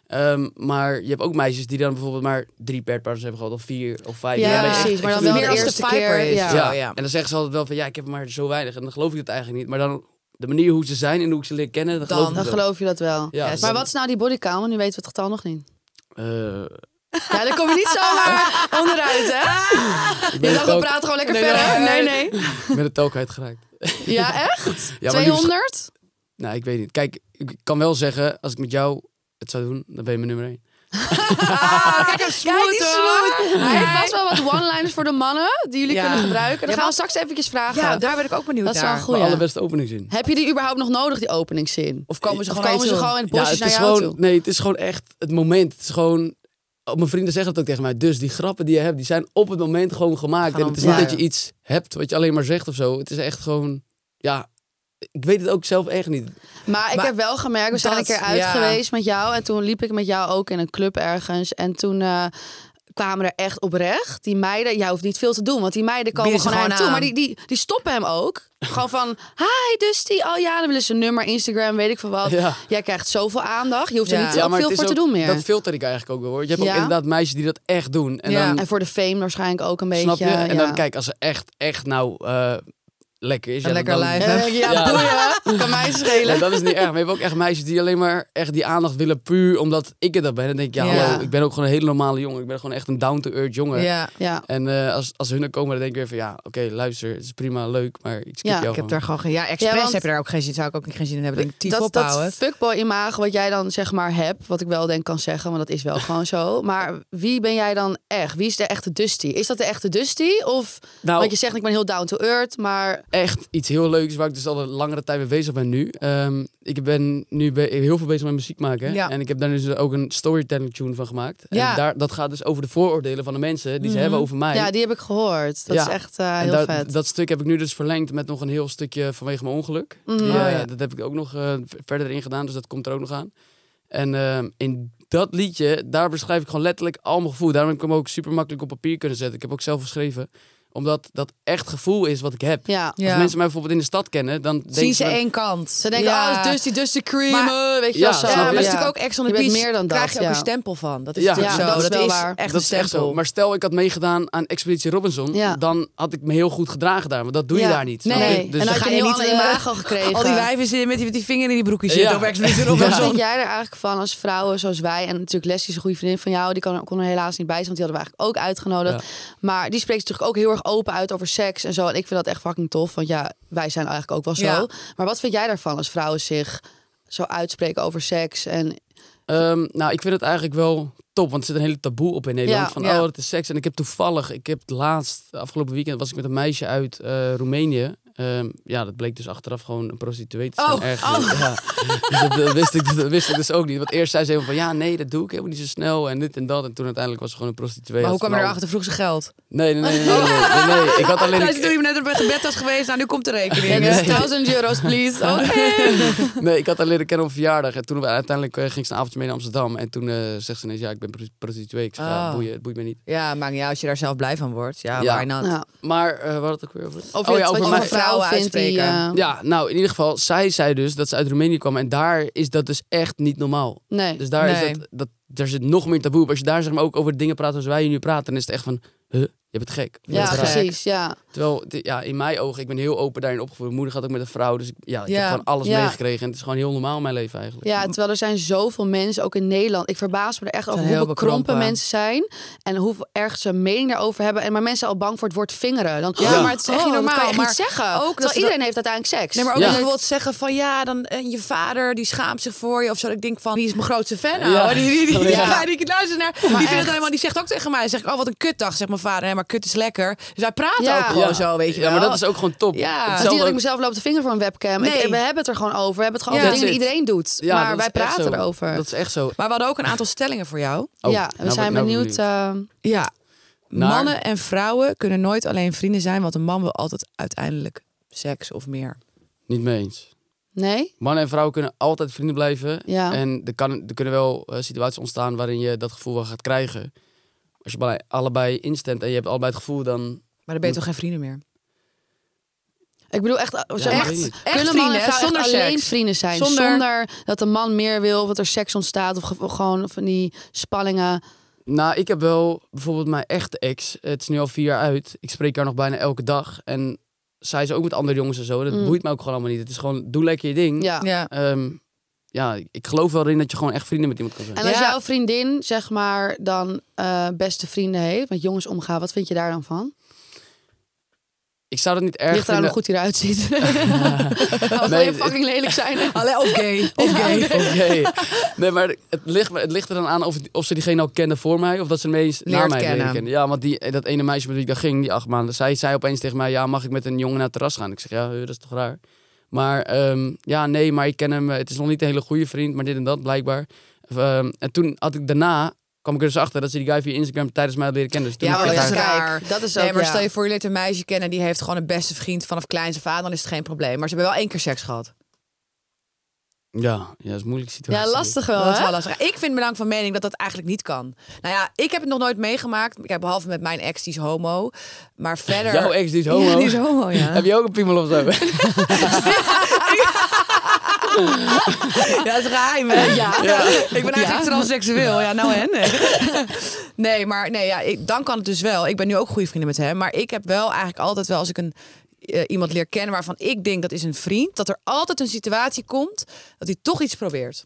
Speaker 5: Ehm, maar je hebt ook meisjes die dan bijvoorbeeld maar drie padpartners hebben gehad, of vier of vijf.
Speaker 3: Ja,
Speaker 5: En dan ben je echt-
Speaker 3: precies.
Speaker 5: ik
Speaker 3: Maar dan
Speaker 5: vind
Speaker 3: wel
Speaker 5: het
Speaker 2: meer
Speaker 3: de
Speaker 5: echt-
Speaker 2: als
Speaker 3: eerste
Speaker 2: de viper
Speaker 3: keer,
Speaker 2: is.
Speaker 3: ja.
Speaker 2: Ja.
Speaker 5: ja.
Speaker 2: zo, ja.
Speaker 5: en dan zeggen ze altijd wel van ja, ik heb er maar zo weinig. En dan geloof ik het eigenlijk niet. Maar dan de manier hoe ze zijn en hoe ik ze leer kennen, dan,
Speaker 2: Dan-
Speaker 5: geloof ik
Speaker 3: Dan
Speaker 5: het wel.
Speaker 3: geloof je dat wel.
Speaker 5: Ja,
Speaker 2: Yes.
Speaker 3: Maar wat is nou die bodycount? Want nu weten we het getal nog niet.
Speaker 5: eh,
Speaker 3: Ja, daar kom je niet zomaar onderuit, hè?
Speaker 5: ik
Speaker 3: Je
Speaker 5: ben
Speaker 3: dacht,
Speaker 5: het
Speaker 3: we
Speaker 5: ook-
Speaker 3: praten gewoon lekker
Speaker 2: Nee,
Speaker 3: verder.
Speaker 2: nee.
Speaker 3: Nee, nee.
Speaker 5: ik ben het ook uitgeraakt.
Speaker 3: Ja, echt?
Speaker 5: Ja, maar nu
Speaker 3: 200?
Speaker 5: Nou, ik weet niet. Kijk, ik kan wel zeggen, als ik met jou het zou doen, dan ben je mijn nummer
Speaker 3: Oh
Speaker 5: één.
Speaker 3: Ah, kijk, hem
Speaker 2: Kijk, die smooth.
Speaker 3: Hij heeft vast wel wat one-liners voor de mannen die jullie
Speaker 2: Ja.
Speaker 3: kunnen gebruiken. Dan
Speaker 2: Ja,
Speaker 3: gaan we
Speaker 2: maar-
Speaker 3: straks eventjes vragen.
Speaker 2: ja, daar ben ik ook benieuwd
Speaker 3: dat is wel
Speaker 2: naar.
Speaker 3: een
Speaker 5: Mijn
Speaker 3: goeie.
Speaker 5: allerbeste openingszin.
Speaker 3: Heb je die überhaupt nog nodig, die openingszin?
Speaker 2: Of komen ze
Speaker 3: Of
Speaker 2: gewoon,
Speaker 3: komen
Speaker 2: naar
Speaker 3: ze
Speaker 2: je toe?
Speaker 3: gewoon in het bosjes
Speaker 5: het
Speaker 3: naar
Speaker 5: is
Speaker 3: jou
Speaker 5: gewoon,
Speaker 3: toe?
Speaker 5: nee, het is gewoon echt het moment. Het is gewoon, oh, mijn vrienden zeggen het ook tegen mij. Dus die grappen die je hebt, die zijn op het moment gewoon gemaakt.
Speaker 2: Gaan
Speaker 5: en het is niet
Speaker 2: ontwaren.
Speaker 5: dat je iets hebt wat je alleen maar zegt of zo. Het is echt gewoon, ja, ik weet het ook zelf echt niet.
Speaker 3: Maar ik
Speaker 2: Maar
Speaker 3: heb wel gemerkt, we zijn
Speaker 2: dat-
Speaker 3: een keer uit
Speaker 2: ja.
Speaker 3: geweest met jou. En toen liep ik met jou ook in een club ergens. En toen eh, kwamen er echt oprecht. Die meiden, jij hoeft niet veel te doen. Want die meiden komen
Speaker 2: Bieden ze
Speaker 3: gewoon naar hem
Speaker 2: gewoon
Speaker 3: toe. Maar
Speaker 2: aan.
Speaker 3: die, die, die stoppen hem ook. gewoon van, hi Dusty. Oh ja, dan willen ze een nummer, Instagram, weet ik veel wat.
Speaker 5: Ja.
Speaker 3: Jij krijgt zoveel aandacht. Je hoeft er
Speaker 2: Ja.
Speaker 3: niet
Speaker 2: Ja,
Speaker 3: zo veel
Speaker 5: het is
Speaker 3: voor te
Speaker 5: ook-
Speaker 3: doen meer.
Speaker 5: Dat filter ik eigenlijk ook wel hoor. Je hebt
Speaker 3: Ja?
Speaker 5: ook inderdaad meisjes die dat echt doen. En
Speaker 2: Ja.
Speaker 5: dan,
Speaker 3: En voor de fame waarschijnlijk ook een beetje.
Speaker 5: snap je? En
Speaker 3: ja.
Speaker 5: dan kijk, als ze echt, echt nou eh, lekker is.
Speaker 2: Een lekker
Speaker 5: dan-
Speaker 2: lijf,
Speaker 3: En dan denk je, Eh, ja,
Speaker 5: Ja.
Speaker 3: boeien, kan mij
Speaker 5: Ja,
Speaker 3: schelen.
Speaker 5: dat is niet erg. We hebben ook echt meisjes die alleen maar echt die aandacht willen puur omdat ik het dat ben. En dan denk ik, ja,
Speaker 2: Ja.
Speaker 5: hallo, ik ben ook gewoon een hele normale jongen. Ik ben gewoon echt een down-to-earth jongen.
Speaker 2: Ja,
Speaker 3: Ja,
Speaker 5: En eh, als, als hun er komen, dan denk ik weer van, ja, oké, luister, het is prima, leuk, maar ik skip
Speaker 3: Ja,
Speaker 5: jou
Speaker 2: ik heb
Speaker 5: gewoon.
Speaker 2: daar gewoon geen... Ja, expres
Speaker 3: Ja, want-
Speaker 2: heb je daar ook geen zin, zou ik ook niet geen zin in hebben. Denk, ik, tief
Speaker 3: dat, dat
Speaker 2: ophouden.
Speaker 3: fuckboy-imago wat jij dan zeg maar hebt, wat ik wel denk kan zeggen, want dat is wel gewoon zo. Maar wie ben jij dan echt? Wie is de echte Dusty? Is dat de echte Dusty? Of,
Speaker 5: Nou,
Speaker 3: want je zegt ik ben heel down to earth, maar
Speaker 5: echt iets heel leuks waar ik dus al een langere tijd mee bezig ben nu. Ehm, ik ben nu be- heel veel bezig met muziek maken.
Speaker 2: Ja.
Speaker 5: En ik heb daar dus ook een storytelling tune van gemaakt.
Speaker 2: Ja.
Speaker 5: En daar, dat gaat dus over de vooroordelen van de mensen die ze
Speaker 2: Mhm.
Speaker 5: hebben over mij.
Speaker 3: ja, die heb ik gehoord. Dat
Speaker 5: Ja.
Speaker 3: is echt eh,
Speaker 5: En
Speaker 3: heel
Speaker 5: dat,
Speaker 3: vet.
Speaker 5: dat stuk heb ik nu dus verlengd met nog een heel stukje vanwege mijn ongeluk.
Speaker 3: Mhm.
Speaker 5: Die,
Speaker 2: Oh,
Speaker 5: eh,
Speaker 2: ja.
Speaker 5: Dat heb ik ook nog eh, v- verder in gedaan, dus dat komt er ook nog aan. En ehm, in dat liedje, daar beschrijf ik gewoon letterlijk al mijn gevoel. Daarom heb ik hem ook super makkelijk op papier kunnen zetten. Ik heb ook zelf geschreven, omdat dat echt gevoel is wat ik heb.
Speaker 3: ja.
Speaker 2: Ja.
Speaker 5: Als mensen mij bijvoorbeeld in de stad kennen, dan denken
Speaker 2: Zien ze
Speaker 5: van-
Speaker 2: één kant.
Speaker 3: Ze denken,
Speaker 2: ja.
Speaker 3: oh, Dusty, Dusty Cream,
Speaker 2: Maar-
Speaker 3: eh, weet je
Speaker 5: Ja,
Speaker 3: wel zo.
Speaker 2: Ja,
Speaker 5: Snap
Speaker 2: maar
Speaker 5: je?
Speaker 2: dat is
Speaker 5: Ja.
Speaker 2: natuurlijk ook ex on the
Speaker 3: Je bent
Speaker 2: beach.
Speaker 3: meer dan
Speaker 2: krijg
Speaker 3: dat,
Speaker 2: je ook
Speaker 3: ja.
Speaker 2: een stempel van. Dat is
Speaker 5: Ja.
Speaker 2: natuurlijk
Speaker 5: Ja,
Speaker 2: zo.
Speaker 3: dat is wel waar.
Speaker 2: echt een
Speaker 5: dat is echt
Speaker 2: stempel.
Speaker 5: zo. Maar stel, ik had meegedaan aan Expeditie Robinson,
Speaker 3: Ja.
Speaker 5: dan had ik me heel goed gedragen daar. Want dat doe je
Speaker 3: Ja.
Speaker 5: daar niet. snap
Speaker 3: Nee,
Speaker 5: je?
Speaker 3: nee.
Speaker 5: Dus
Speaker 3: en
Speaker 2: dan
Speaker 3: dan had
Speaker 2: ga
Speaker 3: je een
Speaker 2: je
Speaker 3: heel
Speaker 2: niet,
Speaker 3: ander
Speaker 2: eh,
Speaker 3: imago gekregen.
Speaker 2: Al die wijven zitten met die, met die vinger in die broekjes
Speaker 5: Ja.
Speaker 2: zitten op Expeditie Robinson.
Speaker 3: Wat vind jij er eigenlijk van als vrouwen zoals wij en natuurlijk Leslie is een goede vriendin van jou, die kon, kon er helaas niet bij zijn, want die hadden we eigenlijk ook uitgenodigd. Maar die spreekt natuurlijk ook heel erg open uit over seks en zo. En ik vind dat echt fucking tof, want ja, wij zijn eigenlijk ook wel zo.
Speaker 2: Ja.
Speaker 3: Maar wat vind jij daarvan als vrouwen zich zo uitspreken over seks en
Speaker 5: Ehm, nou, ik vind het eigenlijk wel top, want er zit een hele taboe op in Nederland.
Speaker 3: Ja,
Speaker 5: van,
Speaker 2: ja.
Speaker 5: oh, dat is seks. En ik heb toevallig, ik heb het laatst, afgelopen weekend, was ik met een meisje uit eh, Roemenië. Ehm, ja, dat bleek dus achteraf gewoon een prostituee te zijn.
Speaker 2: Oh,
Speaker 5: ergens. Ja. Dus dat, eh, wist ik, dat wist ik dus ook niet. Want eerst zei ze helemaal van, ja, nee, dat doe ik helemaal niet zo snel. En dit en dat. En toen uiteindelijk was ze gewoon een prostituee.
Speaker 2: Maar hoe
Speaker 5: Had
Speaker 2: kwam
Speaker 5: van
Speaker 2: je
Speaker 5: al-
Speaker 2: erachter? Vroeg ze geld.
Speaker 5: Nee, nee, nee. nee, nee, nee, nee, nee. Ik had alleen...
Speaker 2: Luister, toen je net op een gebed was geweest, nou nu komt de rekening.
Speaker 3: Ja,
Speaker 5: Nee.
Speaker 3: dus 1000 euro's please? Oh,
Speaker 5: Nee, ik had haar leren kennen op verjaardag. En toen we- uiteindelijk eh, ging ze een avondje mee naar Amsterdam. En toen eh, zegt ze ineens, ja, ik ben pros- prostituee. Ik zeg, ja,
Speaker 2: Oh.
Speaker 5: boeien, het boeit me niet.
Speaker 2: Ja, maakt niet uit als je daar zelf blij van wordt. Ja,
Speaker 5: Ja.
Speaker 2: why not?
Speaker 3: Ja.
Speaker 5: Maar, eh, waar had het ook weer over?
Speaker 3: Of
Speaker 5: oh
Speaker 3: je
Speaker 5: ja,
Speaker 3: het-
Speaker 5: over
Speaker 3: wat je
Speaker 5: mij.
Speaker 3: van vrouwen
Speaker 2: Vrouwen
Speaker 3: vindt die...
Speaker 2: uitspreken.
Speaker 3: eh,
Speaker 5: Ja, nou, in ieder geval, zij zei dus dat ze uit Roemenië kwam. En daar is dat dus echt niet normaal.
Speaker 3: nee.
Speaker 5: Dus daar,
Speaker 2: Nee.
Speaker 5: is dat, dat, daar zit nog meer taboe op. Als je daar zeg maar, ook over dingen praat als wij hier nu praten, dan is het echt van, huh, je bent gek. Je
Speaker 3: ja,
Speaker 5: bent raar.
Speaker 3: precies. Ja.
Speaker 5: Terwijl, het- ja, in mijn ogen, ik ben heel open daarin opgevoed. Mijn moeder gaat ook met een vrouw, dus ik, ja, ik
Speaker 2: Ja.
Speaker 5: heb gewoon alles
Speaker 3: Ja.
Speaker 5: meegekregen. En het is gewoon heel normaal in mijn leven eigenlijk.
Speaker 3: Ja, terwijl er zijn zoveel mensen, ook in Nederland. Ik verbaas me er echt over
Speaker 2: zijn
Speaker 3: hoe
Speaker 2: heel
Speaker 3: bekrompen,
Speaker 2: bekrompen.
Speaker 3: mensen zijn. En hoe erg ze een mening daarover hebben. En maar mensen zijn al bang voor het woord vingeren. Dan,
Speaker 2: Ja.
Speaker 3: ja, maar het is echt
Speaker 2: Oh,
Speaker 3: niet
Speaker 2: dat
Speaker 3: normaal.
Speaker 2: kan
Speaker 3: Kan
Speaker 2: je
Speaker 3: maar
Speaker 2: niet zeggen.
Speaker 3: zeggen.
Speaker 2: Ook
Speaker 3: Ook
Speaker 2: dat
Speaker 3: terwijl
Speaker 2: ze
Speaker 3: iedereen heeft uiteindelijk seks.
Speaker 2: Nee, maar ook
Speaker 5: Ja.
Speaker 2: dat je wilt zeggen van ja, dan en je vader die schaamt zich voor je of zo. Ik denk van die is mijn grootste fan.
Speaker 5: Ja.
Speaker 2: ouwe. Die, die, die, die,
Speaker 5: Ja.
Speaker 2: guy die ik luister naar, die vindt
Speaker 3: echt.
Speaker 2: het helemaal. Die zegt ook tegen mij, zeg ik, oh wat een kutdag, zegt mijn vader. Hè, maar kut is lekker. Dus hij praat
Speaker 3: Ja.
Speaker 2: ook gewoon
Speaker 5: Ja.
Speaker 2: zo, weet je
Speaker 5: Ja,
Speaker 2: wel.
Speaker 5: maar dat is ook gewoon top.
Speaker 2: Ja.
Speaker 5: Hetzelfde
Speaker 3: het is niet dat ik
Speaker 5: ook-
Speaker 3: mezelf loop te vinger voor een webcam. Ik-
Speaker 2: Nee.
Speaker 3: we hebben het er gewoon over. We hebben het gewoon
Speaker 2: Ja.
Speaker 3: over dingen die
Speaker 5: That's
Speaker 3: iedereen doet.
Speaker 5: Ja,
Speaker 3: maar
Speaker 5: dat
Speaker 3: wij
Speaker 5: is echt
Speaker 3: praten
Speaker 5: zo.
Speaker 3: erover.
Speaker 5: Dat is echt zo.
Speaker 2: Maar we hadden ook een aantal stellingen voor jou.
Speaker 5: Oh,
Speaker 3: ja,
Speaker 5: nou
Speaker 3: we
Speaker 5: word-
Speaker 3: zijn
Speaker 5: nou word ik
Speaker 3: benieuwd. eh,
Speaker 2: Ja.
Speaker 5: Naar-
Speaker 2: Mannen en vrouwen kunnen nooit alleen vrienden zijn, want een man wil altijd uiteindelijk seks of meer.
Speaker 5: Niet mee eens.
Speaker 3: nee?
Speaker 5: Mannen en vrouwen kunnen altijd vrienden blijven.
Speaker 3: Ja.
Speaker 5: En er, kan, er kunnen wel eh, situaties ontstaan waarin je dat gevoel wel gaat krijgen. Als je bij- allebei instemt en je hebt allebei het gevoel, dan...
Speaker 2: Maar dan ben je toch geen vrienden meer?
Speaker 3: Ik bedoel echt... zeg maar,
Speaker 5: weet ik niet.
Speaker 3: Kunnen
Speaker 2: vrienden,
Speaker 3: mannen en
Speaker 2: hè,
Speaker 3: vrouwen
Speaker 2: zonder
Speaker 3: echt alleen
Speaker 2: seks.
Speaker 3: vrienden zijn?
Speaker 2: Zonder-
Speaker 3: Zonder... dat een man meer wil, of dat er seks ontstaat, of ge- gewoon van die spanningen.
Speaker 5: Nou, ik heb wel bijvoorbeeld mijn echte ex. Het is nu al vier jaar uit. Ik spreek haar nog bijna elke dag. En zij is ook met andere jongens en zo. Dat
Speaker 3: Mm.
Speaker 5: boeit me ook gewoon allemaal niet. Het is gewoon, doe lekker je ding.
Speaker 3: Ja.
Speaker 2: Ja.
Speaker 5: Ehm, ja, ik geloof wel in dat je gewoon echt vrienden met iemand kan zijn.
Speaker 3: En als
Speaker 2: Ja.
Speaker 3: jouw vriendin, zeg maar, dan eh, beste vrienden heeft, met jongens omgaan, wat vind je daar dan van?
Speaker 5: Ik zou dat niet erg
Speaker 3: Ligt eraan hoe
Speaker 5: vinden.
Speaker 3: goed hij eruit ziet. Of wil
Speaker 5: Nee,
Speaker 3: je fucking lelijk zijn?
Speaker 2: Alleen of gay. Of gay.
Speaker 5: Oké. Oh, Nee, maar het ligt, het ligt er dan aan of, of ze diegene al kenden voor mij... of dat ze hem ineens na
Speaker 2: Leert
Speaker 5: mij leren
Speaker 2: kennen.
Speaker 5: kennen. Ja, want die, dat ene meisje met wie ik daar ging, die acht maanden... zij zei opeens tegen mij, ja, mag ik met een jongen naar het terras gaan? Ik zeg, ja, eh, dat is toch raar? Maar ehm, ja, nee, maar ik ken hem. eh, Het is nog niet een hele goede vriend, maar dit en dat, blijkbaar. Of, ehm, en toen had ik daarna... kwam ik er dus achter dat ze die guy via Instagram tijdens mij had leren kennen. Dus toen
Speaker 2: Ja,
Speaker 5: heb
Speaker 2: maar
Speaker 5: ik
Speaker 2: dat
Speaker 5: haar-
Speaker 2: is raar.
Speaker 3: Kijk, dat is ook,
Speaker 2: Nee, maar
Speaker 3: ja.
Speaker 2: stel je voor, je leert een meisje kennen... die heeft gewoon een beste vriend vanaf kleins af aan... dan is het geen probleem. Maar ze hebben wel één keer seks gehad.
Speaker 5: Ja, ja, dat is een moeilijke situatie.
Speaker 3: Ja, lastig wel,
Speaker 2: Dat is wel
Speaker 3: Oh, hè?
Speaker 2: lastig. Ik vind belang van mening dat dat eigenlijk niet kan. Nou ja, ik heb het nog nooit meegemaakt. Ik heb behalve met mijn ex, die is homo. Maar verder...
Speaker 5: Jouw ex, die is homo.
Speaker 2: Ja, die is homo, ja.
Speaker 5: Heb je ook een piemel of zo?
Speaker 2: Ja, dat is geheim, hè? Eh, Ja. Ik ben eigenlijk transseksueel. Ja, nou en? Nee, maar nee, ja, ik, dan kan het dus wel. Ik ben nu ook goede vrienden met hem. Maar ik heb wel eigenlijk altijd wel, als ik een eh, iemand leer kennen waarvan ik denk dat is een vriend, dat er altijd een situatie komt dat hij toch iets probeert.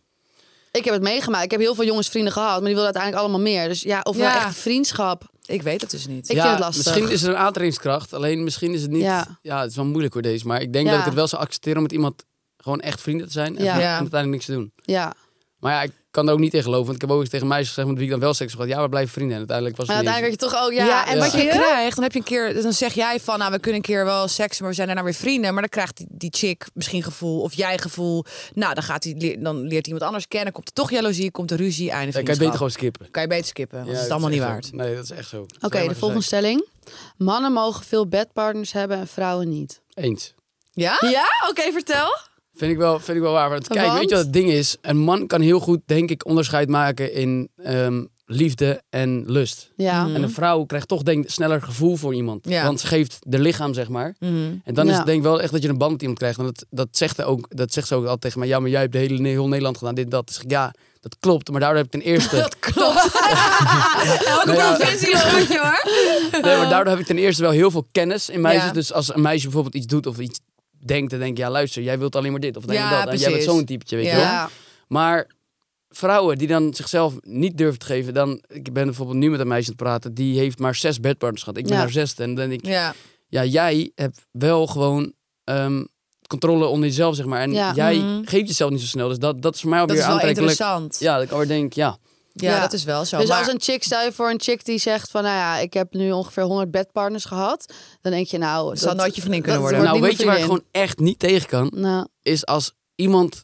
Speaker 3: Ik heb het meegemaakt. Ik heb heel veel jongensvrienden gehad, maar die wilden uiteindelijk allemaal meer. Dus ja, of
Speaker 2: Ja.
Speaker 3: wel echt vriendschap.
Speaker 2: Ik weet het dus niet.
Speaker 3: Ik-
Speaker 5: ja,
Speaker 3: vind het lastig.
Speaker 5: Misschien is er een aantrekkingskracht, alleen misschien is het niet.
Speaker 3: Ja.
Speaker 5: Ja, het is wel moeilijk hoor deze. Maar ik denk
Speaker 3: Ja.
Speaker 5: dat ik het wel zou accepteren om met iemand gewoon echt vrienden te zijn en,
Speaker 3: Ja.
Speaker 5: en
Speaker 2: Ja.
Speaker 5: uiteindelijk niks te doen.
Speaker 3: Ja.
Speaker 5: Maar ja, ik kan er ook niet in geloven. Want ik heb ook eens tegen meisjes gezegd met wie ik dan wel seks had. Ja, we blijven vrienden. En uiteindelijk was
Speaker 3: Maar
Speaker 5: het niet
Speaker 3: uiteindelijk had je toch ook... Ja,
Speaker 2: Ja, en
Speaker 5: Ja.
Speaker 2: wat je
Speaker 3: Ja.
Speaker 2: krijgt, dan heb je een keer, dan zeg jij van, nou, we kunnen een keer wel seks, maar we zijn daarna weer vrienden. Maar dan krijgt die, die chick misschien gevoel of jij gevoel. Nou, dan gaat die, dan leert iemand anders kennen, komt er toch jaloezie, komt er ruzie, eindigt.
Speaker 5: Dan kan je beter
Speaker 2: vriendschap.
Speaker 5: gewoon skippen.
Speaker 2: kan je beter skippen, want
Speaker 5: Ja,
Speaker 2: het is
Speaker 5: dat
Speaker 2: allemaal niet
Speaker 5: echt
Speaker 2: waard.
Speaker 5: zo. Nee, dat is echt zo.
Speaker 3: Oké, de volgende stelling. Mannen mogen veel bedpartners hebben en vrouwen niet.
Speaker 5: Eens.
Speaker 2: Ja?
Speaker 3: Ja? Oké, vertel.
Speaker 5: Vind ik wel, vind ik wel waar. Want kijk,
Speaker 3: Want?
Speaker 5: weet je wat het ding is? Een man kan heel goed, denk ik, onderscheid maken in ehm, liefde en lust.
Speaker 3: Ja.
Speaker 2: Hmm.
Speaker 5: En een vrouw krijgt toch denk, ik, sneller gevoel voor iemand.
Speaker 2: Ja.
Speaker 5: Want ze geeft de lichaam, zeg maar.
Speaker 2: Mhm.
Speaker 5: En dan is
Speaker 3: Ja.
Speaker 5: het denk ik wel echt dat je een band met iemand krijgt. En dat, dat, zegt, ze ook, dat zegt ze ook altijd tegen mij. Ja, maar jij hebt de hele, heel Nederland gedaan, dit, dat. Dus ik, ja, dat klopt. Maar daardoor heb ik ten eerste...
Speaker 2: Dat klopt. Elke
Speaker 5: Nee, ja.
Speaker 2: provincie hoort je hoor.
Speaker 5: Nee, maar daardoor heb ik ten eerste wel heel veel kennis in meisjes.
Speaker 2: Ja.
Speaker 5: Dus als een meisje bijvoorbeeld iets doet of iets denkt, dan denk ik, ja luister, jij wilt alleen maar dit of alleen
Speaker 2: Ja,
Speaker 5: maar dat. En jij bent
Speaker 2: precies.
Speaker 5: zo'n typetje, weet je wel.
Speaker 3: Ja.
Speaker 5: Maar vrouwen die dan zichzelf niet durven te geven, dan, ik ben bijvoorbeeld nu met een meisje aan het praten, die heeft maar zes bedpartners gehad. Ik ben
Speaker 3: Ja.
Speaker 5: haar zesde en dan denk ik, ja,
Speaker 2: Ja.
Speaker 5: jij hebt wel gewoon ehm, controle onder jezelf, zeg maar. En
Speaker 3: Ja.
Speaker 5: jij
Speaker 2: Mhm.
Speaker 5: geeft jezelf niet zo snel, dus dat, dat is voor mij ook
Speaker 2: Dat
Speaker 5: weer
Speaker 2: is wel
Speaker 5: aantrekkelijk.
Speaker 2: interessant. Ja,
Speaker 5: Ja, dat ik alweer denk, ja.
Speaker 3: Ja.
Speaker 2: dat is wel zo.
Speaker 3: Dus
Speaker 2: maar-
Speaker 3: als een chick, stel je voor een chick die zegt van... Nou ja, ik heb nu ongeveer 100 bedpartners gehad. Dan denk je nou...
Speaker 2: zal nooit je vriendin kunnen
Speaker 3: dat
Speaker 2: worden.
Speaker 3: wordt
Speaker 5: Nou,
Speaker 3: niet
Speaker 5: weet je
Speaker 3: mijn
Speaker 5: waar ik gewoon echt niet tegen kan?
Speaker 3: Nou,
Speaker 5: Is als iemand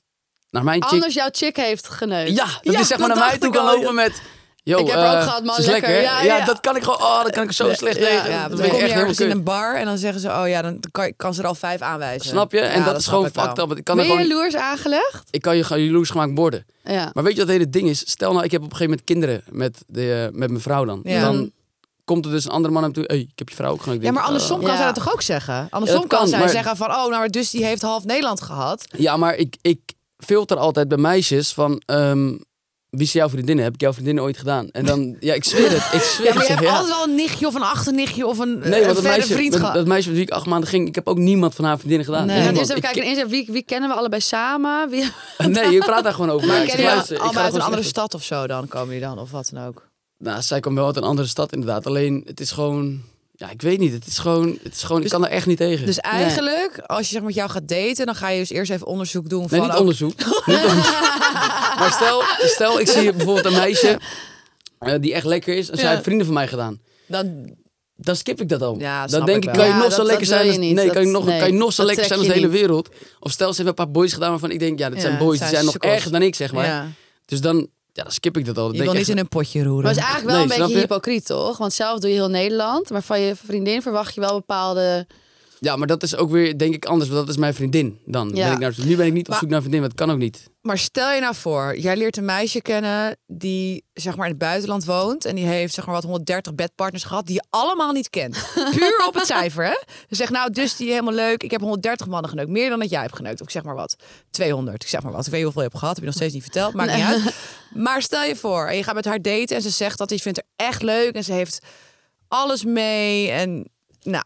Speaker 5: naar mijn chick
Speaker 3: anders jouw chick heeft geneukt.
Speaker 5: Ja, dat
Speaker 3: Ja,
Speaker 5: is zeg maar
Speaker 3: dat
Speaker 5: naar mij
Speaker 3: dacht
Speaker 5: toe
Speaker 3: ik
Speaker 5: kan
Speaker 3: al.
Speaker 5: lopen met... Yo,
Speaker 3: Ik heb er ook
Speaker 5: eh,
Speaker 3: gehad, man,
Speaker 5: ze is
Speaker 3: lekker.
Speaker 5: lekker. hè?
Speaker 3: Ja,
Speaker 5: Ja,
Speaker 3: ja. Eh,
Speaker 5: dat kan ik gewoon... Oh, dat kan ik zo slecht tegen.
Speaker 2: ja, dan
Speaker 5: dat vind
Speaker 2: kom
Speaker 5: ik
Speaker 2: je
Speaker 5: echt helemaal
Speaker 2: ergens in
Speaker 5: kut.
Speaker 2: een bar en dan zeggen ze, oh ja, dan kan, kan ze er al vijf aanwijzen.
Speaker 5: Snap je? En
Speaker 2: Ja,
Speaker 5: dat, is
Speaker 2: snap
Speaker 5: gewoon
Speaker 2: ik wel.
Speaker 5: fucked up. want Ik kan,
Speaker 3: Ben
Speaker 5: er
Speaker 3: je
Speaker 5: gewoon,
Speaker 3: jaloers aangelegd?
Speaker 5: ik kan je gewoon jaloers gemaakt worden.
Speaker 3: Ja.
Speaker 5: Maar weet je wat het hele ding is? Stel nou, ik heb op een gegeven moment kinderen met, de, eh, met mijn vrouw dan.
Speaker 2: Ja.
Speaker 5: Dan komt er dus een andere man naar me toe. Hey, ik heb je vrouw ook gewoon. Ik
Speaker 2: Ja,
Speaker 5: denk,
Speaker 2: maar andersom
Speaker 5: eh,
Speaker 2: kan
Speaker 3: Ja.
Speaker 2: zij dat toch ook zeggen? Andersom
Speaker 5: dat
Speaker 2: kan,
Speaker 5: kan,
Speaker 2: zij
Speaker 5: maar-
Speaker 2: zeggen van, oh, nou, dus die heeft half Nederland gehad.
Speaker 5: eh, ja, maar ik, ik filter altijd bij meisjes van... ehm, wie is jouw vriendin? Heb ik jouw vriendin ooit gedaan? En dan... Ja, ik zweer het. Ik zweer
Speaker 2: Ja, maar je
Speaker 5: het. zeg,
Speaker 2: hebt
Speaker 5: ja.
Speaker 2: altijd wel een nichtje of een achternichtje of een, eh,
Speaker 5: Nee,
Speaker 2: een
Speaker 5: want dat
Speaker 2: verre
Speaker 5: meisje,
Speaker 2: vriend
Speaker 5: met-
Speaker 2: gehad.
Speaker 5: dat meisje met wie ik acht maanden ging, ik heb ook niemand van haar vriendinnen gedaan.
Speaker 2: Nee. dus
Speaker 3: We gaan
Speaker 5: Niemand.
Speaker 3: eerst even kijken. Eerst even, wie, wie kennen we allebei samen? Wie...
Speaker 5: Ik- nee, je praat daar gewoon over.
Speaker 2: Maar
Speaker 5: Maar ik
Speaker 2: kennen
Speaker 5: zeg,
Speaker 2: jullie
Speaker 5: luister, ik ga
Speaker 2: allemaal uit een
Speaker 5: gewoon
Speaker 2: andere
Speaker 5: zeggen-
Speaker 2: stad of zo dan? Komen die dan of wat dan ook?
Speaker 5: Nou, zij kwam wel uit een andere stad inderdaad. Alleen, het is gewoon... Ja, ik weet niet. Het is gewoon... Het is gewoon ik kan er echt niet tegen.
Speaker 2: Dus eigenlijk, als je zeg maar, met jou gaat daten, dan ga je dus eerst even onderzoek doen van...
Speaker 5: nee, niet
Speaker 2: oh,
Speaker 5: onderzoek. Niet onderzoek. maar stel, stel, ik zie bijvoorbeeld een meisje eh, die echt lekker is. En zij
Speaker 2: Ja.
Speaker 5: heeft vrienden van mij gedaan.
Speaker 2: dan,
Speaker 5: Dan skip ik dat al.
Speaker 2: Ja,
Speaker 5: dan
Speaker 2: snap
Speaker 5: denk
Speaker 2: ik wel.
Speaker 5: ik, kan je
Speaker 3: Ja,
Speaker 5: nog
Speaker 3: dat-
Speaker 5: zo lekker
Speaker 3: dat wil
Speaker 5: zijn
Speaker 3: je
Speaker 5: als,
Speaker 3: niet.
Speaker 5: nee, kan, je
Speaker 3: Dat-
Speaker 5: nog, kan je
Speaker 3: nee,
Speaker 5: nog zo
Speaker 3: dat
Speaker 5: lekker
Speaker 3: trek
Speaker 5: zijn als de
Speaker 3: je
Speaker 5: hele wereld. Of stel, ze hebben een paar boys gedaan waarvan ik denk, ja, dat
Speaker 2: Ja,
Speaker 5: zijn boys.
Speaker 2: zijn
Speaker 5: die zijn nog
Speaker 2: sukkels.
Speaker 5: erger dan ik, zeg maar.
Speaker 2: ja.
Speaker 5: Dus dan, ja, dan skip ik dat al. Dan
Speaker 2: Je
Speaker 5: denk
Speaker 2: wil
Speaker 5: ik
Speaker 2: niet
Speaker 5: echt-
Speaker 2: in een potje roeren.
Speaker 3: Maar het is eigenlijk wel
Speaker 5: Nee,
Speaker 3: een
Speaker 5: snap
Speaker 3: beetje
Speaker 5: je?
Speaker 3: hypocriet, toch? Want zelf doe je heel Nederland, maar van je vriendin verwacht je wel bepaalde...
Speaker 5: Ja, maar dat is ook weer, denk ik, anders. Want dat is mijn vriendin dan.
Speaker 3: Ja.
Speaker 5: Ben ik naar, nu ben ik niet op
Speaker 2: Maar-
Speaker 5: zoek naar een vriendin, want dat kan ook niet.
Speaker 2: Maar stel je nou voor, jij leert een meisje kennen die zeg maar in het buitenland woont en die heeft zeg maar wat 130 bedpartners gehad die je allemaal niet kent. Puur op het cijfer, hè? Ze zegt nou, dus die helemaal leuk. Ik heb 130 mannen geneukt, meer dan dat jij hebt geneukt. Of ik zeg maar wat, 200. Ik zeg maar wat. Ik weet niet hoeveel je hebt gehad, heb je nog steeds niet verteld, maakt niet uit. Maar stel je voor, en je gaat met haar daten en ze zegt dat die vindt haar echt leuk en ze heeft alles mee en nou.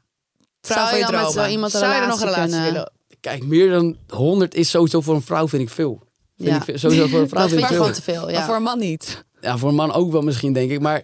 Speaker 2: Vrouw
Speaker 3: Zou
Speaker 2: van
Speaker 3: je
Speaker 2: je
Speaker 3: dan met
Speaker 2: dromen.
Speaker 3: zo iemand een
Speaker 2: Zou je dan nog
Speaker 3: relatie
Speaker 2: een relatie willen?
Speaker 3: kunnen?
Speaker 5: Kijk, meer dan 100 is sowieso voor een vrouw, vind ik veel. Vind
Speaker 3: Ja.
Speaker 5: ik veel- sowieso voor een vrouw
Speaker 3: Dat
Speaker 5: vind
Speaker 3: vind
Speaker 5: ik
Speaker 3: ik gewoon
Speaker 5: veel.
Speaker 3: te veel,
Speaker 2: Maar
Speaker 3: ja.
Speaker 2: voor een man niet.
Speaker 5: Ja, voor een man ook wel misschien, denk ik. Maar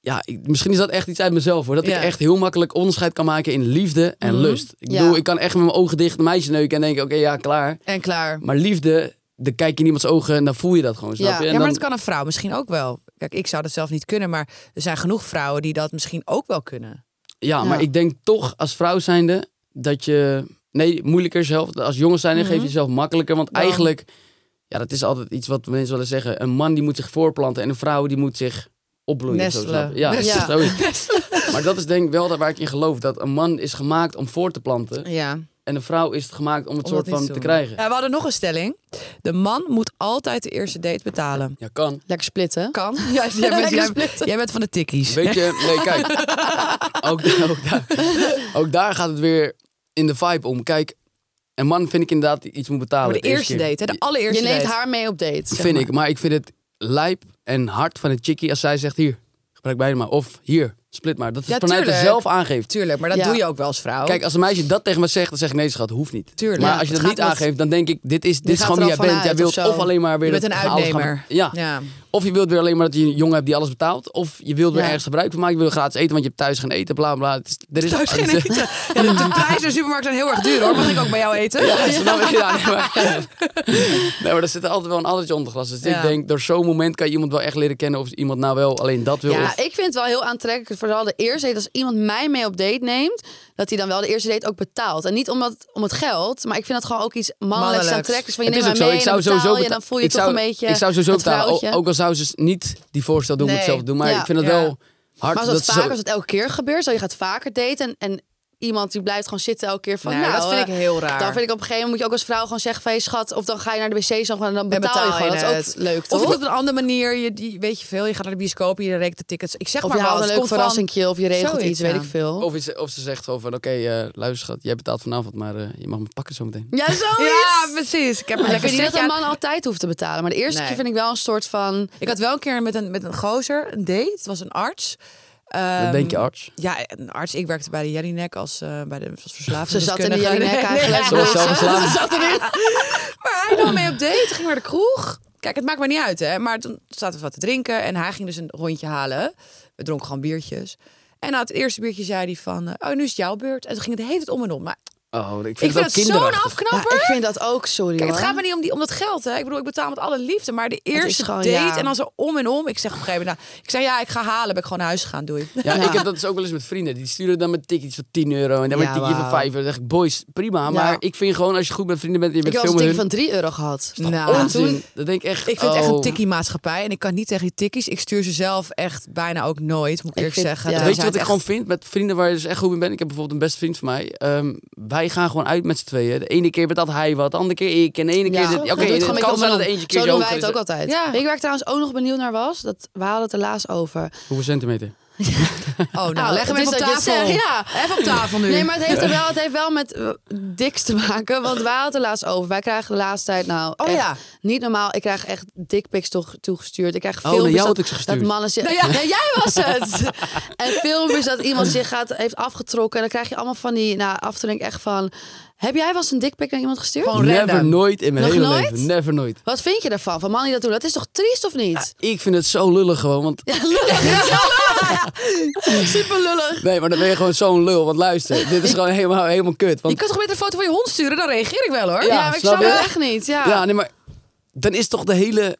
Speaker 5: ja, ik- misschien is dat echt iets uit mezelf, hoor. Dat
Speaker 2: Ja.
Speaker 5: ik echt heel makkelijk onderscheid kan maken in liefde en lust. Ik
Speaker 3: Mhm. Ja.
Speaker 5: bedoel, ik kan echt met mijn ogen dicht een meisje neuken en denken, oké, ja, klaar.
Speaker 2: En klaar.
Speaker 5: Maar liefde, dan kijk je in iemands ogen en dan voel je dat gewoon, snap
Speaker 3: Ja.
Speaker 5: je? En
Speaker 2: ja, maar
Speaker 5: dan-
Speaker 2: dat kan een vrouw misschien ook wel. Kijk, ik zou dat zelf niet kunnen, maar er zijn genoeg vrouwen die dat misschien ook wel kunnen.
Speaker 5: Ja,
Speaker 3: Ja.
Speaker 5: maar ik denk toch als vrouw zijnde dat je... Nee, moeilijker zelf. Als jongen zijnde geef je jezelf makkelijker. Want
Speaker 2: Mhm. Dan-
Speaker 5: eigenlijk, ja, dat is altijd iets wat mensen willen zeggen. Een man die moet zich voorplanten en een vrouw die moet zich opbloeien. of zo,
Speaker 2: Nestelen.
Speaker 5: snap je? Ja,
Speaker 3: Nestelen.
Speaker 5: zo is het. Maar dat is denk ik wel dat waar ik in geloof. Dat een man is gemaakt om voor te planten.
Speaker 2: Ja.
Speaker 5: En een vrouw is het gemaakt om het
Speaker 2: Om dat
Speaker 5: soort
Speaker 2: niet
Speaker 5: van
Speaker 2: te
Speaker 5: te
Speaker 2: doen.
Speaker 5: krijgen.
Speaker 2: we hadden nog een stelling. De man moet altijd de eerste date betalen.
Speaker 5: Ja, kan.
Speaker 3: Lekker splitten.
Speaker 2: Kan. Ja, jij, bent,
Speaker 3: Lekker
Speaker 2: jij,
Speaker 3: splitten.
Speaker 2: jij bent van de tikkies.
Speaker 5: Weet je, nee, kijk. Ook, ook, daar, ook daar gaat het weer in de vibe om. Kijk, een man vind ik inderdaad die iets moet betalen.
Speaker 2: Maar de
Speaker 5: de
Speaker 2: eerste
Speaker 5: keer.
Speaker 2: date, hè? de allereerste
Speaker 3: Je neemt
Speaker 2: date.
Speaker 3: haar mee op date.
Speaker 5: vind ik. Maar ik vind het lijp en hard van een chickie als zij zegt: hier, gebruik beide maar. Of hier, Split maar. Dat is
Speaker 2: Ja,
Speaker 5: vanuit
Speaker 2: tuurlijk.
Speaker 5: zelf aangeeft.
Speaker 2: Tuurlijk, maar dat
Speaker 3: Ja.
Speaker 2: doe je ook wel als vrouw.
Speaker 5: Kijk, als een meisje dat tegen me zegt, dan zeg ik nee, schat, hoeft niet.
Speaker 2: Tuurlijk.
Speaker 5: Maar
Speaker 2: Ja,
Speaker 5: als je
Speaker 2: het
Speaker 5: dat niet
Speaker 2: gaat met-
Speaker 5: aangeeft, dan denk ik, dit is, dit
Speaker 2: Je
Speaker 5: is
Speaker 2: gaat
Speaker 5: gewoon wie jij
Speaker 2: er al
Speaker 5: bent. Jij
Speaker 2: vanuit
Speaker 5: wilt
Speaker 2: of zo.
Speaker 5: of alleen maar weer...
Speaker 2: je bent een
Speaker 5: dat gehaald gaan-
Speaker 2: uitnemer.
Speaker 5: Ja.
Speaker 2: ja.
Speaker 5: Of je wilt weer alleen maar dat je een jongen hebt die alles betaalt. Of je wilt weer
Speaker 3: Ja.
Speaker 5: ergens gebruik van maken. Je wil gratis eten, want je hebt thuis geen eten, bla bla. Het is, er is
Speaker 2: Thuis geen eten. Ja, de prijzen in de supermarkt zijn heel erg duur hoor. Mag ik ook bij jou eten?
Speaker 5: Ja, snap ik. Ja, nee, maar, nee, maar er zit altijd wel een addertje onder glas. Dus
Speaker 2: Ja.
Speaker 5: ik denk, door zo'n moment kan je iemand wel echt leren kennen of iemand nou wel alleen dat wil.
Speaker 3: Ja,
Speaker 5: of-
Speaker 3: ik vind het wel heel aantrekkelijk. Vooral de eerste date. Als iemand mij mee op date neemt, dat hij dan wel de eerste date ook betaalt. En niet omdat, om het geld, maar ik vind dat gewoon ook iets mannelijks,
Speaker 2: Mannelijks.
Speaker 3: aantrekkelijks. Van je
Speaker 5: Het
Speaker 3: neemt
Speaker 5: is ook
Speaker 3: mij
Speaker 5: zo.
Speaker 3: mee
Speaker 5: Ik
Speaker 3: en dan
Speaker 5: zou
Speaker 3: betaal
Speaker 5: sowieso
Speaker 3: je. En
Speaker 5: beta-
Speaker 3: dan voel je
Speaker 5: ik
Speaker 3: toch
Speaker 5: zou-
Speaker 3: een beetje
Speaker 5: Ik zou sowieso
Speaker 3: het
Speaker 5: betalen.
Speaker 3: vrouwtje.
Speaker 5: Ook, ook al zou ze niet die voorstel doen om het
Speaker 2: Nee.
Speaker 5: zelf te doen. Maar
Speaker 3: Ja.
Speaker 5: ik vind het
Speaker 2: Ja.
Speaker 5: wel hard.
Speaker 3: maar als
Speaker 5: dat
Speaker 3: het
Speaker 5: ze
Speaker 3: vaak,
Speaker 5: zo-
Speaker 3: als het elke keer gebeurt, zo je gaat vaker daten en, en iemand die blijft gewoon zitten elke keer van,
Speaker 2: Nee,
Speaker 3: nou,
Speaker 2: dat vind
Speaker 3: eh,
Speaker 2: ik heel raar.
Speaker 3: Dan vind ik op een gegeven moment moet je ook als vrouw gewoon zeggen van, hey, schat, of dan ga je naar de wc zo en dan
Speaker 2: En
Speaker 3: betaal, je gewoon. Dat is
Speaker 2: het.
Speaker 3: ook leuk,
Speaker 2: Of je
Speaker 3: toch?
Speaker 2: doet op een andere manier. Je, die, weet je veel, je gaat naar de bioscoop, je rekent de tickets. Ik zeg
Speaker 3: Of
Speaker 2: maar
Speaker 3: je haalt
Speaker 2: wat.
Speaker 3: een
Speaker 2: het
Speaker 3: leuk
Speaker 2: komt van-
Speaker 3: verrassingje of je regelt
Speaker 2: Zoiets,
Speaker 3: iets,
Speaker 2: ja.
Speaker 3: weet ik veel.
Speaker 5: Of, is- of ze zegt gewoon van, oké, eh, luister schat, jij betaalt vanavond, maar eh, je mag me pakken zometeen.
Speaker 3: Ja, zoiets.
Speaker 2: Oh, Ja, precies. Ik heb een
Speaker 3: ik
Speaker 2: lekker
Speaker 3: vind niet dat
Speaker 2: setje
Speaker 3: een
Speaker 2: aan-
Speaker 3: man altijd hoeft te betalen. Maar de eerste
Speaker 2: Nee.
Speaker 3: keer vind ik wel een soort van...
Speaker 2: Ik had wel een keer met een, met een gozer een date. Het was een arts. Ehm,
Speaker 5: dat denk je, arts.
Speaker 2: Ja, een arts. Ik werkte bij de Jellinek als, eh, bij de als verslaafd.
Speaker 3: Ze zat in de Jellinek eigenlijk.
Speaker 5: Ze was zelf verslaafd.
Speaker 3: Ze zat erin.
Speaker 2: Maar hij nam mee op date, ging naar de kroeg. Kijk, het maakt me niet uit, hè. Maar toen zaten we wat te drinken en hij ging dus een rondje halen. We dronken gewoon biertjes. En na het eerste biertje zei hij van, eh, oh, nu is het jouw beurt. En toen ging het de hele tijd om en om. Maar
Speaker 5: Oh, ik vind
Speaker 2: ik
Speaker 5: wel
Speaker 2: vind het zo'n
Speaker 5: kinderachtig.
Speaker 2: afknapper.
Speaker 3: ik vind dat ook, sorry
Speaker 2: Kijk, het
Speaker 3: hoor.
Speaker 2: gaat me niet om, die, om dat geld, hè. Ik bedoel, ik betaal met alle liefde. Maar de eerste
Speaker 3: gewoon,
Speaker 2: date
Speaker 3: ja.
Speaker 2: en dan zo om en om. Ik zeg op een gegeven moment, nou, ik zei, ja, ik ga halen. Ben ik gewoon naar huis gegaan, doei.
Speaker 5: Ja, ik heb dat dus ook wel eens met vrienden. Die sturen dan met tickets van 10 euro en dan met
Speaker 3: Ja,
Speaker 5: een ticketje van
Speaker 3: wauw.
Speaker 5: 5 euro. Dan zeg ik, boys, prima. Maar ik vind gewoon, als je goed met vrienden bent en je
Speaker 3: Ik
Speaker 5: bent
Speaker 3: heb wel
Speaker 5: veel
Speaker 3: eens
Speaker 5: met
Speaker 3: een ding
Speaker 5: hun...
Speaker 3: van 3 euro gehad.
Speaker 2: Nou,
Speaker 5: onzin.
Speaker 2: toen-
Speaker 5: dat denk ik echt...
Speaker 2: Ik vind het echt
Speaker 5: oh.
Speaker 2: een tikkie-maatschappij. En ik kan niet tegen die tikkies. Ik stuur ze zelf echt bijna ook nooit, moet ik,
Speaker 3: Ik
Speaker 2: eerlijk
Speaker 3: vind-
Speaker 2: zeggen.
Speaker 3: ja.
Speaker 2: Dan
Speaker 5: Weet je
Speaker 2: zijn
Speaker 5: wat ik
Speaker 2: het
Speaker 5: gewoon vind met vrienden waar je dus echt goed mee bent? Ik heb bijvoorbeeld een beste vriend van mij. Ehm, wij gaan gewoon uit met z'n tweeën. De ene keer betaalt hij wat, de andere keer ik. En de ene
Speaker 3: Ja.
Speaker 5: keer... dit.
Speaker 3: Dat
Speaker 5: Oké,
Speaker 3: doe je
Speaker 5: het
Speaker 3: gewoon
Speaker 5: kan
Speaker 3: met je
Speaker 5: zijn dat
Speaker 3: man.
Speaker 5: de eentje keer
Speaker 3: Zo doen wij het ook
Speaker 5: al.
Speaker 3: altijd.
Speaker 2: Ja.
Speaker 3: Ik waar ik trouwens ook nog benieuwd naar was, dat, we hadden het er laatst over.
Speaker 5: Hoeveel centimeter?
Speaker 2: Oh, nou, leg hem
Speaker 3: het
Speaker 2: even
Speaker 3: is
Speaker 2: op
Speaker 3: dat je het
Speaker 2: tafel.
Speaker 3: zegt, ja.
Speaker 2: Even op tafel nu.
Speaker 3: Nee, maar het heeft, er wel, het heeft wel met eh, diks te maken. Want wij hadden het er laatst over. Wij krijgen de laatste tijd nou
Speaker 2: Oh
Speaker 3: echt
Speaker 2: ja.
Speaker 3: niet normaal. Ik krijg echt dickpics toch- toegestuurd. Ik krijg
Speaker 2: Oh,
Speaker 5: naar
Speaker 3: filmpjes
Speaker 5: jou
Speaker 3: dat,
Speaker 5: had ik ze
Speaker 3: dat
Speaker 5: gestuurd.
Speaker 3: mannen zich...
Speaker 2: Nou ja.
Speaker 3: Nee, jij was het! en filmpjes dat iemand zich gaat, heeft afgetrokken. En dan krijg je allemaal van die... Nou, af en toe denk ik echt van... Heb jij wel eens een dickpic naar iemand gestuurd?
Speaker 2: Gewoon
Speaker 5: Never,
Speaker 2: random.
Speaker 5: nooit in mijn
Speaker 3: Nog
Speaker 5: hele
Speaker 3: nooit?
Speaker 5: leven. Never, nooit.
Speaker 3: Wat vind je daarvan? Van mannen die dat doen? Dat is toch triest of niet?
Speaker 5: Ik vind het zo lullig gewoon, want
Speaker 3: Ja, lullig. Super lullig.
Speaker 5: Nee, maar dan ben je gewoon zo'n lul. Want luister, dit is gewoon helemaal, helemaal kut.
Speaker 2: Je
Speaker 5: Want,
Speaker 2: kan toch beter een foto van je hond sturen? Dan reageer ik wel, hoor.
Speaker 5: Ja,
Speaker 3: Ja, maar ik
Speaker 5: snap
Speaker 3: snap
Speaker 5: je?
Speaker 3: het echt niet. Ja.
Speaker 5: ja, nee, maar dan is toch de hele...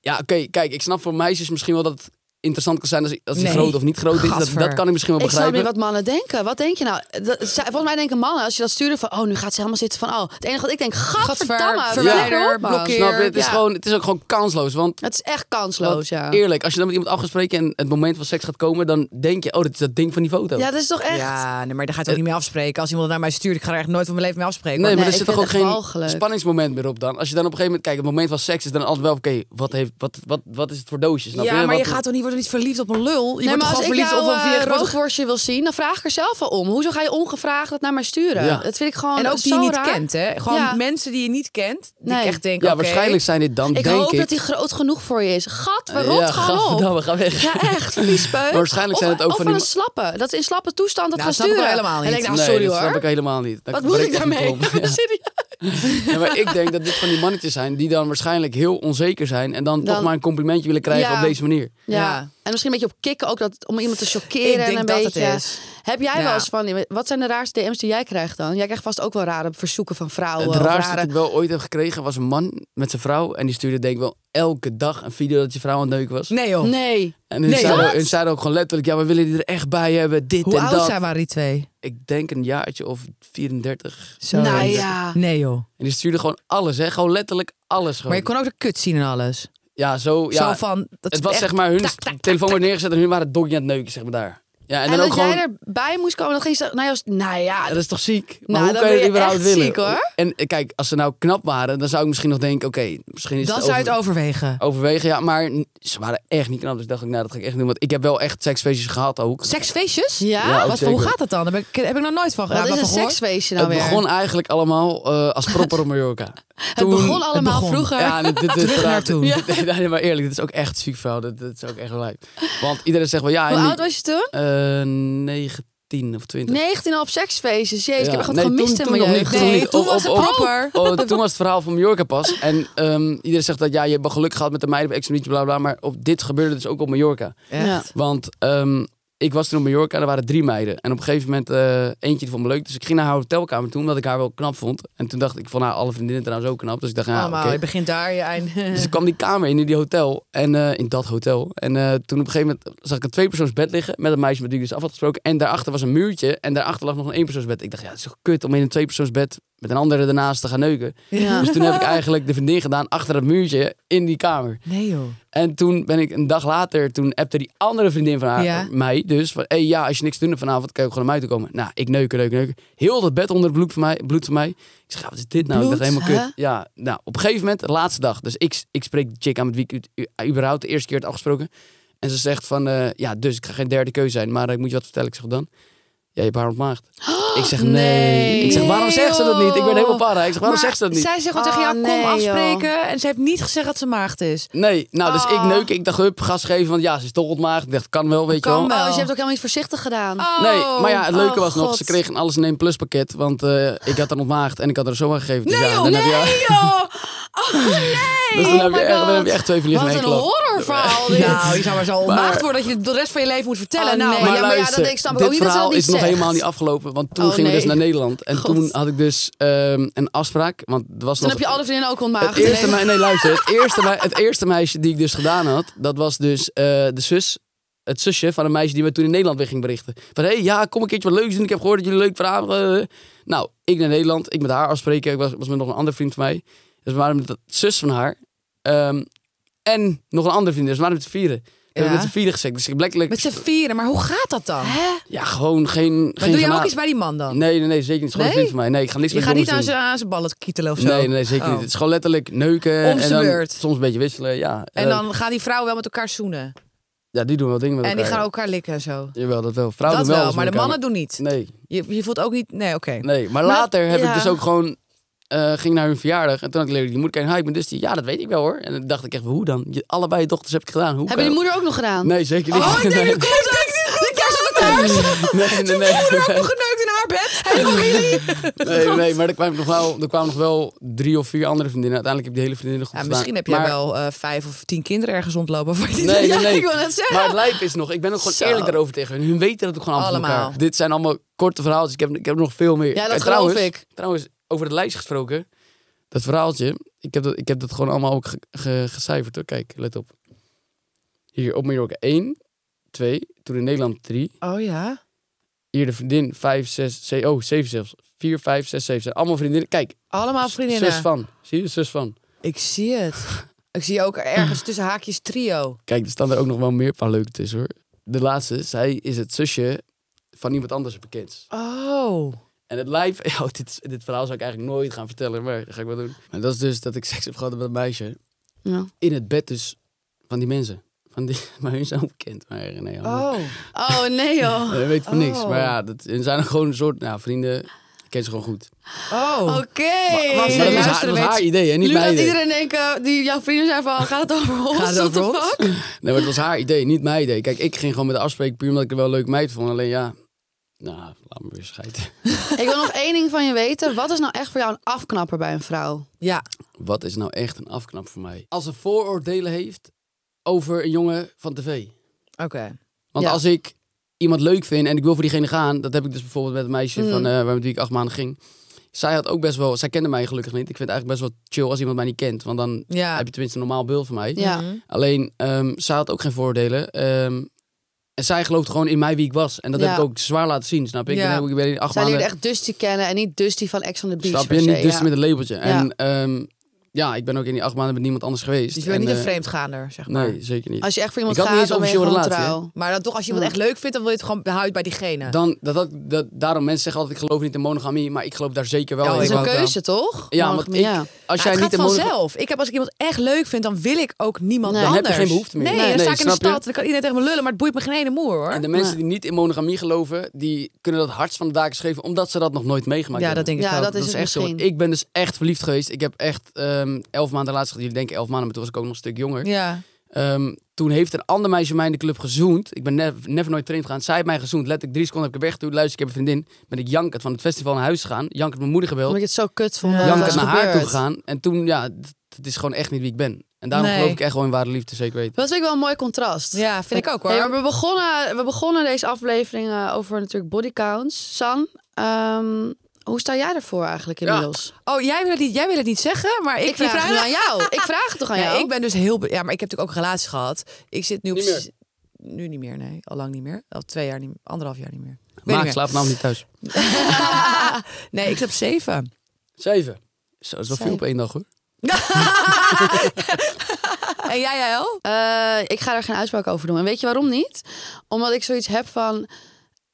Speaker 5: Ja, oké, kijk, ik snap voor meisjes misschien wel dat het interessant kan zijn als, als die
Speaker 2: Nee.
Speaker 5: groot of niet groot is. Dat,
Speaker 2: Gadver.
Speaker 5: dat kan ik misschien wel
Speaker 3: Ik snap
Speaker 5: begrijpen.
Speaker 3: niet wat mannen denken. Wat denk je nou? Dat, zij- volgens mij denken mannen, als je dat stuurde van... Oh, nu gaat ze helemaal zitten van... Oh, het enige wat ik denk... Gadverdamme,
Speaker 2: Gadver,
Speaker 3: flikker op, man.
Speaker 2: blokkeer.
Speaker 5: Snap je? Het is,
Speaker 3: Ja.
Speaker 5: gewoon, het is ook gewoon kansloos. Want
Speaker 3: Het is echt kansloos, ja.
Speaker 5: eerlijk, als je dan met iemand afgesproken en het moment van seks gaat komen, dan denk je, oh, dit is dat ding van die foto.
Speaker 3: Ja, dat is toch echt...
Speaker 2: Ja, nee, maar daar ga je toch niet mee afspreken. Als iemand naar mij stuurt, ik ga er echt nooit van mijn leven mee afspreken.
Speaker 5: Nee,
Speaker 2: hoor.
Speaker 5: maar
Speaker 3: Nee,
Speaker 5: er
Speaker 3: ik
Speaker 5: zit toch ook
Speaker 3: vind het
Speaker 5: geen
Speaker 3: echt walgelijk.
Speaker 5: spanningsmoment meer op dan. Als je dan op een gegeven moment, kijk, het moment van seks is dan altijd wel, oké, wat, heeft, wat, wat, wat is het voor doosje? Snap
Speaker 2: ja, maar je gaat
Speaker 5: Wat-
Speaker 2: toch niet worden niet verliefd op een lul? Je wordt
Speaker 3: Nee, maar
Speaker 2: toch
Speaker 3: als
Speaker 2: gewoon
Speaker 3: ik
Speaker 2: verliefd
Speaker 3: jou
Speaker 2: op een
Speaker 3: een
Speaker 2: vier grote-
Speaker 3: rookworstje wil zien, dan vraag ik er zelf wel om. Hoezo ga je ongevraagd dat naar mij sturen?
Speaker 5: Ja.
Speaker 3: Dat vind ik gewoon
Speaker 2: En ook die
Speaker 3: zo
Speaker 2: je niet
Speaker 3: raar.
Speaker 2: kent, hè? Gewoon
Speaker 3: Ja.
Speaker 2: mensen die je niet kent. Die
Speaker 3: Nee.
Speaker 2: ik echt denk,
Speaker 5: Ja,
Speaker 2: oké.
Speaker 5: waarschijnlijk zijn dit dan,
Speaker 3: Ik
Speaker 5: denk
Speaker 3: hoop
Speaker 5: ik...
Speaker 3: dat die groot genoeg voor je is. Gat, we
Speaker 5: Ja,
Speaker 3: rot gewoon op.
Speaker 5: gadverdamme, ga weg.
Speaker 3: Ja, echt, viespeuk.
Speaker 5: Maar waarschijnlijk zijn
Speaker 3: Of-
Speaker 5: het ook
Speaker 3: of
Speaker 5: van
Speaker 3: van een
Speaker 5: die-
Speaker 3: slappe. Dat ze in slappe toestand dat
Speaker 2: Nou,
Speaker 3: gaan
Speaker 2: snap ik wel
Speaker 3: sturen.
Speaker 2: helemaal
Speaker 3: En
Speaker 2: niet.
Speaker 3: ik denk, nou,
Speaker 5: nee,
Speaker 3: sorry
Speaker 5: dat snap
Speaker 3: hoor.
Speaker 5: ik helemaal niet. Dat
Speaker 3: Wat moet
Speaker 5: breekt
Speaker 3: ik
Speaker 5: echt mijn
Speaker 3: daarmee?
Speaker 5: klomp. Ja.
Speaker 3: Serieus?
Speaker 5: Ja, maar ik denk dat dit van die mannetjes zijn die dan waarschijnlijk heel onzeker zijn en dan, toch
Speaker 3: Dan-
Speaker 5: maar een complimentje willen krijgen
Speaker 3: Ja.
Speaker 5: op deze manier.
Speaker 3: Ja.
Speaker 2: Ja.
Speaker 3: En misschien een beetje op kicken ook dat, om iemand te chockeren.
Speaker 2: Ik denk
Speaker 3: en een
Speaker 2: dat het
Speaker 3: beetje.
Speaker 2: is.
Speaker 3: Heb jij
Speaker 2: Ja.
Speaker 3: wel eens van. Wat zijn de raarste DM's die jij krijgt dan? Jij krijgt vast ook wel rare verzoeken van vrouwen.
Speaker 5: Het
Speaker 3: of
Speaker 5: raarste dat
Speaker 3: rare...
Speaker 5: ik wel ooit heb gekregen was een man met zijn vrouw en die stuurde denk ik wel elke dag een video dat je vrouw aan het neuken was.
Speaker 2: Nee, joh.
Speaker 3: Nee.
Speaker 5: En hun,
Speaker 2: Nee,
Speaker 5: zeiden,
Speaker 2: wat?
Speaker 5: hun zeiden ook gewoon letterlijk, ja, we willen die er echt bij hebben, dit
Speaker 2: Hoe
Speaker 5: en
Speaker 2: oud
Speaker 5: dat.
Speaker 2: zijn waren die twee?
Speaker 5: Ik denk een jaartje of 34.
Speaker 2: Zo.
Speaker 3: Nou ja.
Speaker 2: Nee, joh.
Speaker 5: En die stuurde gewoon alles, hè? Gewoon letterlijk alles. Gewoon.
Speaker 2: Maar je kon ook de kut zien en alles.
Speaker 5: Ja, zo. Ja,
Speaker 2: Zo van, dat
Speaker 5: het was zeg maar hun telefoon werd neergezet en hun waren het doggy aan het neuken, zeg maar daar. Ja, en,
Speaker 3: En,
Speaker 5: dan
Speaker 3: dat
Speaker 5: ook gewoon.
Speaker 3: jij erbij moest komen, dan ging ze. Nou ja, als- nou ja.
Speaker 5: Ja, dat is toch ziek? Maar
Speaker 3: Nou,
Speaker 5: hoe
Speaker 3: dan
Speaker 5: kan je
Speaker 3: ben
Speaker 5: het
Speaker 3: je
Speaker 5: überhaupt
Speaker 3: echt
Speaker 5: willen?
Speaker 3: ziek, hoor.
Speaker 5: En eh, kijk, als ze nou knap waren, dan zou ik misschien nog denken, oké, misschien is
Speaker 2: Dan
Speaker 5: het
Speaker 2: zou je
Speaker 5: over-
Speaker 2: het overwegen.
Speaker 5: overwegen. Ja, maar n- ze waren echt niet knap, dus dacht ik, nou, dat ga ik echt niet doen. Want ik heb wel echt seksfeestjes gehad ook.
Speaker 2: Seksfeestjes?
Speaker 3: Ja?
Speaker 5: Ja, ook
Speaker 2: Wat, hoe
Speaker 5: zeker.
Speaker 2: gaat dat dan? Daar ben ik- heb ik nog nooit van
Speaker 3: wat
Speaker 2: ja,
Speaker 3: is
Speaker 2: van
Speaker 3: een
Speaker 2: gehoord.
Speaker 3: seksfeestje nou
Speaker 5: het
Speaker 3: weer?
Speaker 5: begon eigenlijk allemaal eh, als proper op Mallorca.
Speaker 3: het begon allemaal
Speaker 4: begon.
Speaker 3: vroeger.
Speaker 5: Ja, dit, dit, dit,
Speaker 4: Terug naar
Speaker 5: dit-
Speaker 4: toen.
Speaker 5: dit- dit- nee, maar eerlijk, dit is ook echt ziek vuil. Dit, dit is ook echt gelijk. Want iedereen zegt wel ja.
Speaker 3: Hoe
Speaker 5: en die-
Speaker 3: oud was je toen?
Speaker 5: Eh, 19 of 20.
Speaker 3: 19 al op seksfeestjes. Jezus, ik
Speaker 5: Ja.
Speaker 3: heb echt
Speaker 5: Nee,
Speaker 3: gemist
Speaker 5: toen-
Speaker 3: in
Speaker 5: toen
Speaker 3: mijn
Speaker 5: nog
Speaker 3: jeugd.
Speaker 5: niet.
Speaker 2: Nee,
Speaker 5: Toen-
Speaker 2: toen
Speaker 5: op-
Speaker 2: was het
Speaker 5: op- op-
Speaker 2: proper.
Speaker 5: Oh, toen was het verhaal van Mallorca pas. En ehm, iedereen zegt dat ja, je hebt wel geluk gehad met de meiden op Exxon bla bla. Maar op dit gebeurde dus ook op Mallorca.
Speaker 3: Ja.
Speaker 5: Want ehm, ik was toen op Mallorca en er waren drie meiden. En op een gegeven moment eh, eentje die vond me leuk. Dus ik ging naar haar hotelkamer toe, omdat ik haar wel knap vond. En toen dacht ik, ik vond haar alle vriendinnen trouwens ook knap. Dus ik dacht, ja, oké.
Speaker 2: Allemaal, je begint daar, je eind.
Speaker 5: Dus ik kwam die kamer in, in die hotel. En eh, in dat hotel. En eh, toen op een gegeven moment zag ik een tweepersoonsbed liggen. Met een meisje met wie ik dus af had gesproken. En daarachter was een muurtje. En daarachter lag nog een eenpersoonsbed. Ik dacht, ja, het is toch kut om in een tweepersoonsbed met een andere daarnaast te gaan neuken.
Speaker 3: Ja.
Speaker 5: Dus toen heb ik eigenlijk de vriendin gedaan achter dat muurtje in die kamer.
Speaker 2: Nee joh.
Speaker 5: En toen ben ik een dag later, toen appte die andere vriendin van haar,
Speaker 2: Ja.
Speaker 5: mij dus. Van, hey, ja, als je niks te doen hebt vanavond, kan je ook gewoon naar mij toe komen. Nou, ik neuken, neuken, neuken. Heel dat bed onder het bloed van mij. Bloed van mij. Ik zeg, ja, wat is dit nou?
Speaker 3: Bloed,
Speaker 5: ik dacht helemaal
Speaker 3: hè?
Speaker 5: kut. Ja, nou, op een gegeven moment, de laatste dag. Dus ik, ik spreek de chick aan met wie ik u- u- überhaupt de eerste keer had afgesproken. En ze zegt van, eh, ja, dus ik ga geen derde keuze zijn. Maar ik moet je wat vertellen. Ik zeg, dan? Ja, je hebt haar ontmaagd. ik zeg, nee.
Speaker 3: nee,
Speaker 5: Ik zeg, waarom zegt ze dat niet? Ik ben
Speaker 3: joh.
Speaker 5: helemaal para. Ik zeg, waarom zegt ze dat niet?
Speaker 2: Zij zegt wel tegen
Speaker 3: Ah,
Speaker 2: jou, kom
Speaker 3: nee, joh.
Speaker 2: afspreken. En ze heeft niet gezegd dat ze maagd is.
Speaker 5: Nee, nou, dus
Speaker 3: Oh.
Speaker 5: ik
Speaker 2: Ah.
Speaker 5: neuk. Ik dacht, hup, gas geven. Want ja, ze is toch ontmaagd. Ik dacht, kan wel, weet
Speaker 2: Kan
Speaker 5: je wel. Oh.
Speaker 3: Oh,
Speaker 2: wel.
Speaker 3: dus je hebt ook helemaal niet voorzichtig gedaan.
Speaker 5: Nee, maar ja, het leuke
Speaker 3: oh,
Speaker 5: was nog,
Speaker 3: God.
Speaker 5: ze kreeg een alles in één plus pakket. Want eh, ik had haar ontmaagd en ik had haar zo aan gegeven. Dus ja, dan heb je,
Speaker 2: joh!
Speaker 5: dus dan,
Speaker 3: Oh
Speaker 5: heb je
Speaker 3: my
Speaker 5: echt, dan
Speaker 3: God.
Speaker 5: heb je echt twee vliegen in
Speaker 3: Wat
Speaker 5: één
Speaker 3: een
Speaker 5: klap.
Speaker 3: horrorverhaal dit.
Speaker 2: Nou, je zou maar zo ontmaagd
Speaker 5: Maar-
Speaker 2: worden dat je de rest van je leven moet vertellen.
Speaker 3: Oh,
Speaker 2: nou,
Speaker 3: nee.
Speaker 2: maar-
Speaker 3: ja, maar ja, dat denk ik- snap ik
Speaker 5: dit
Speaker 3: ook niet dat ze dat
Speaker 5: verhaal
Speaker 3: niet
Speaker 5: is nog
Speaker 3: zegt.
Speaker 5: helemaal niet afgelopen. Want toen
Speaker 3: Oh,
Speaker 5: gingen we dus
Speaker 3: nee.
Speaker 5: naar Nederland. En
Speaker 3: God.
Speaker 5: toen had ik dus ehm, een afspraak. Want het was
Speaker 3: Toen
Speaker 5: nog
Speaker 3: heb je alle vriendinnen ook
Speaker 5: Het
Speaker 3: ontmaagd.
Speaker 5: eerste, mei- nee, luister. Het eerste, mei- het eerste meisje die ik dus gedaan had, dat was dus eh, de zus. Het zusje van een meisje die me toen in Nederland weer ging berichten. Van, hé, hey, ja, kom een keertje wat leuks doen. Ik heb gehoord dat jullie leuk verhaal... eh." Nou, ik naar Nederland. Ik met haar afspreken. Ik was, was met nog een andere vriend van mij. Dus we waren met de zus van haar. ehm, en nog een andere vriend. Dus we waren met z'n vieren. We hebben
Speaker 2: Ja.
Speaker 5: met z'n vieren gezegd. Dus ik blijkbaar...
Speaker 2: Met z'n vieren, maar hoe gaat dat dan?
Speaker 3: Hè?
Speaker 5: Ja, gewoon geen...
Speaker 2: Maar doe
Speaker 5: geen
Speaker 2: jij ook
Speaker 5: genade.
Speaker 2: iets bij die man dan?
Speaker 5: Nee, nee, nee, zeker niet. Het is gewoon een
Speaker 2: Nee?
Speaker 5: vriend van mij. Nee, ik ga niks
Speaker 2: je
Speaker 5: met
Speaker 2: gaat niet
Speaker 5: jongens
Speaker 2: aan
Speaker 5: doen.
Speaker 2: zijn, aan zijn ballen kietelen of zo?
Speaker 5: Nee, nee, zeker
Speaker 2: Oh.
Speaker 5: niet. Het is gewoon letterlijk neuken.
Speaker 2: Om
Speaker 5: en
Speaker 2: z'n
Speaker 5: dan
Speaker 2: beurt.
Speaker 5: Soms een beetje wisselen, ja.
Speaker 2: En
Speaker 5: Eh,
Speaker 2: dan gaan die vrouwen wel met elkaar zoenen.
Speaker 5: Ja, die doen wel dingen met
Speaker 2: En die
Speaker 5: elkaar.
Speaker 2: gaan elkaar likken en zo.
Speaker 5: ja. Jawel, dat wel. Vrouwen
Speaker 2: dat
Speaker 5: doen
Speaker 2: wel,
Speaker 5: wel,
Speaker 2: maar de
Speaker 5: eens met
Speaker 2: mannen doen niet.
Speaker 5: elkaar. Nee,
Speaker 2: Je, je voelt ook niet... Nee, oké.
Speaker 5: nee. Maar,
Speaker 3: Maar-
Speaker 5: later heb
Speaker 3: ja.
Speaker 5: ik dus ook gewoon... eh, ging naar hun verjaardag en toen had ik leren, je moet kijken, hi, ik ben dus die. Ja, dat weet ik wel hoor. En dan dacht ik echt, hoe dan? Je, allebei je dochters heb ik gedaan. Hoe
Speaker 3: Hebben
Speaker 5: kan
Speaker 3: je
Speaker 5: dat?
Speaker 3: moeder ook nog gedaan?
Speaker 5: Nee, zeker niet.
Speaker 2: Oh, ik denk, nu
Speaker 5: nee,
Speaker 2: komt het! Ik was aan het thuis!
Speaker 5: nee, nee, nee, nee,
Speaker 2: Geneukt in haar bed! Helemaal really?
Speaker 5: nee, nee, maar er kwamen, nog wel, er kwamen nog wel drie of vier andere vriendinnen. Uiteindelijk heb ik de hele vriendinnen goed
Speaker 2: Ja,
Speaker 5: gedaan.
Speaker 2: misschien heb jij
Speaker 5: Maar-
Speaker 2: wel eh, vijf of tien kinderen ergens rondlopen. Voor die
Speaker 5: Nee, nee,
Speaker 2: Ja,
Speaker 5: nee.
Speaker 2: ik wil net zeggen.
Speaker 5: Maar het lijp is nog, ik ben ook gewoon
Speaker 2: Zo.
Speaker 5: eerlijk daarover tegen hun. Hun weten dat ook gewoon allemaal. van
Speaker 2: Allemaal.
Speaker 5: elkaar. Dit zijn allemaal korte verhaaltjes. Ik heb, ik heb nog veel meer.
Speaker 3: Ja, dat
Speaker 5: En trouwens,
Speaker 3: geloof ik.
Speaker 5: Trouwens, over het lijstje gesproken. Dat verhaaltje, ik heb dat, ik heb dat gewoon allemaal ook ge- ge- gecijferd hoor. Kijk, let op. Hier op Mallorca 1, 2, toen in Nederland 3.
Speaker 2: Oh ja.
Speaker 5: Hier de vriendin 5, 6, 7, oh 7 zelfs. 4, 5, 6, 7. Zijn allemaal vriendinnen. Kijk,
Speaker 2: Allemaal vriendinnen.
Speaker 5: zus van. Zie je, zus van.
Speaker 2: Ik zie het. Ik zie ook ergens tussen haakjes trio.
Speaker 5: Kijk, er staan er ook nog wel meer een paar leuke tussen hoor. De laatste, zij is het zusje van iemand anders bekend.
Speaker 2: Oh.
Speaker 5: En het lijf, ja, dit, is- dit verhaal zou ik eigenlijk nooit gaan vertellen, maar dat ga ik wel doen. Maar dat is dus dat ik seks heb gehad met een meisje.
Speaker 3: Ja.
Speaker 5: In het bed dus van die mensen. Van die, maar hun zijn onbekend. Maar eh, nee, allemaal-
Speaker 2: Oh.
Speaker 3: Oh nee joh.
Speaker 5: Eh, weet van niks.
Speaker 2: Oh.
Speaker 5: Maar ja, dat hun zijn gewoon een soort nou, vrienden. Ik ken ze gewoon goed.
Speaker 2: Oh.
Speaker 3: Oké.
Speaker 2: wacht,
Speaker 5: Maar dat
Speaker 2: luisteren
Speaker 5: was, haar, dat was
Speaker 2: weet-
Speaker 5: haar idee, hè? niet
Speaker 3: Nu
Speaker 5: mijn
Speaker 3: gaat
Speaker 5: idee.
Speaker 3: iedereen denken, die jouw vrienden zijn van, gaat het over ons?
Speaker 2: Gaat het
Speaker 3: What the
Speaker 2: over ons?
Speaker 3: fuck?
Speaker 5: Nee, maar het was haar idee, niet mijn idee. Kijk, ik ging gewoon met de afspraak puur omdat ik er wel een leuk meid vond. Alleen ja, nou, laat me weer scheiden.
Speaker 3: Ik wil nog één ding van je weten. Wat is nou echt voor jou een afknapper bij een vrouw?
Speaker 2: Ja.
Speaker 5: Wat is nou echt een afknap voor mij? Als ze vooroordelen heeft over een jongen van tv.
Speaker 2: Oké.
Speaker 5: Want
Speaker 3: Ja.
Speaker 5: als ik iemand leuk vind en ik wil voor diegene gaan, dat heb ik dus bijvoorbeeld met een meisje
Speaker 3: Mm.
Speaker 5: van, eh, waar met wie ik acht maanden ging. Zij had ook best wel, zij kende mij gelukkig niet. Ik vind het eigenlijk best wel chill als iemand mij niet kent, want dan
Speaker 2: Ja.
Speaker 5: heb je tenminste een normaal beeld van mij.
Speaker 3: Ja.
Speaker 2: Mhm.
Speaker 5: Alleen, ehm, zij had ook geen voordelen. ehm, en zij geloofde gewoon in mij wie ik was. En dat heb
Speaker 3: Ja.
Speaker 5: ik ook zwaar laten zien, snap je? Ik
Speaker 2: Ja.
Speaker 5: ben, helemaal- ik ben in acht
Speaker 3: Zij leert
Speaker 5: maanden...
Speaker 3: echt Dusty kennen en niet Dusty van Ex on the Beach.
Speaker 5: Snap
Speaker 3: per
Speaker 5: je?
Speaker 3: se,
Speaker 5: Niet dus
Speaker 3: ja.
Speaker 5: met een labeltje.
Speaker 3: Ja.
Speaker 5: En ehm, ja, ik ben ook in die acht maanden met niemand anders geweest.
Speaker 2: Dus je bent
Speaker 5: En,
Speaker 2: niet een
Speaker 5: eh,
Speaker 2: vreemdgaander, zeg maar.
Speaker 5: Nee, zeker niet.
Speaker 3: Als je echt voor iemand
Speaker 5: Ik had
Speaker 3: gaat,
Speaker 5: niet eens
Speaker 3: dan ben je
Speaker 5: officieel
Speaker 3: gewoon
Speaker 5: relatie, hè?
Speaker 3: trouw.
Speaker 2: Maar dan toch, als je iemand echt leuk vindt, dan wil je het gewoon behouden bij diegene.
Speaker 5: Dan, dat, dat, dat, daarom mensen zeggen altijd, ik geloof niet in monogamie, maar ik geloof daar zeker wel
Speaker 2: Ja,
Speaker 5: in.
Speaker 3: Dat is een
Speaker 5: Want, eh,
Speaker 3: keuze, toch?
Speaker 5: Ja, want
Speaker 3: Monogamie,
Speaker 5: ik-
Speaker 3: ja.
Speaker 5: als
Speaker 2: Ja, het
Speaker 5: jij
Speaker 2: gaat
Speaker 5: niet de moeder-
Speaker 2: vanzelf. Ik heb, als ik iemand echt leuk vind, dan wil ik ook niemand
Speaker 3: Nee. Dan
Speaker 5: heb je
Speaker 2: anders.
Speaker 5: geen behoefte meer.
Speaker 2: Nee,
Speaker 5: Nee,
Speaker 2: dan
Speaker 5: nee,
Speaker 2: sta ik in de
Speaker 5: snap je?
Speaker 2: stad en dan kan iedereen tegen me lullen, maar het boeit me geen ene moer hoor.
Speaker 5: En de mensen die niet in monogamie geloven, die kunnen dat hardst van de daken schrijven, omdat ze dat nog nooit meegemaakt
Speaker 2: ja,
Speaker 5: hebben.
Speaker 2: dat denk ik
Speaker 3: Ja,
Speaker 2: ook.
Speaker 3: dat is het
Speaker 5: echt zo.
Speaker 3: misschien.
Speaker 5: Ik ben dus echt verliefd geweest. Ik heb echt ehm, elf maanden laatst, jullie denken elf maanden, maar toen was ik ook nog een stuk jonger.
Speaker 2: Ja.
Speaker 5: Ehm, toen heeft een ander meisje mij in de club gezoend. Ik ben nev- never nooit vreemd gegaan. Zij heeft mij gezoend. Let ik drie seconden heb ik er weg. Toen luister ik heb een vriendin. Ben ik jankend van het festival naar huis gegaan. Jankend mijn moeder gebeld.
Speaker 3: Omdat je het zo kut vond.
Speaker 2: Ja.
Speaker 3: dat
Speaker 5: jankend
Speaker 3: het
Speaker 5: naar
Speaker 3: was
Speaker 5: haar toe
Speaker 3: gebeurd.
Speaker 5: gegaan. En toen, ja, d- het is gewoon echt niet wie ik ben. En daarom
Speaker 2: Nee.
Speaker 5: geloof ik echt gewoon in ware liefde, zeker weten.
Speaker 3: Dat vind ik wel een mooi contrast.
Speaker 2: ja, vind ik ook hoor.
Speaker 3: Hey, maar we, begonnen, we begonnen deze aflevering eh, over natuurlijk bodycounts. San, ehm, hoe sta jij ervoor eigenlijk inmiddels?
Speaker 2: Oh, jij wil, het niet, jij wil het niet zeggen, maar ik,
Speaker 3: Ik
Speaker 2: je
Speaker 3: vraag het
Speaker 2: vraagt-
Speaker 3: nu aan jou. Ik vraag het toch aan
Speaker 2: Nee,
Speaker 3: jou?
Speaker 2: ik ben dus heel... be- Ja, maar ik heb natuurlijk ook een relatie gehad. Ik zit nu op...
Speaker 5: Niet meer.
Speaker 2: s- Nu niet meer, nee. Al lang niet meer. Al twee jaar niet meer. Anderhalf jaar niet meer. Weet
Speaker 5: Maar
Speaker 2: niet
Speaker 5: ik
Speaker 2: meer.
Speaker 5: slaap namelijk niet thuis.
Speaker 2: nee, ik zit op zeven.
Speaker 5: Zeven. Zo, dat is wel veel
Speaker 3: Zeven.
Speaker 5: op één dag hoor.
Speaker 2: En jij, jij al?
Speaker 3: Eh, ik ga daar geen uitspraak over doen. En weet je waarom niet? Omdat ik zoiets heb van...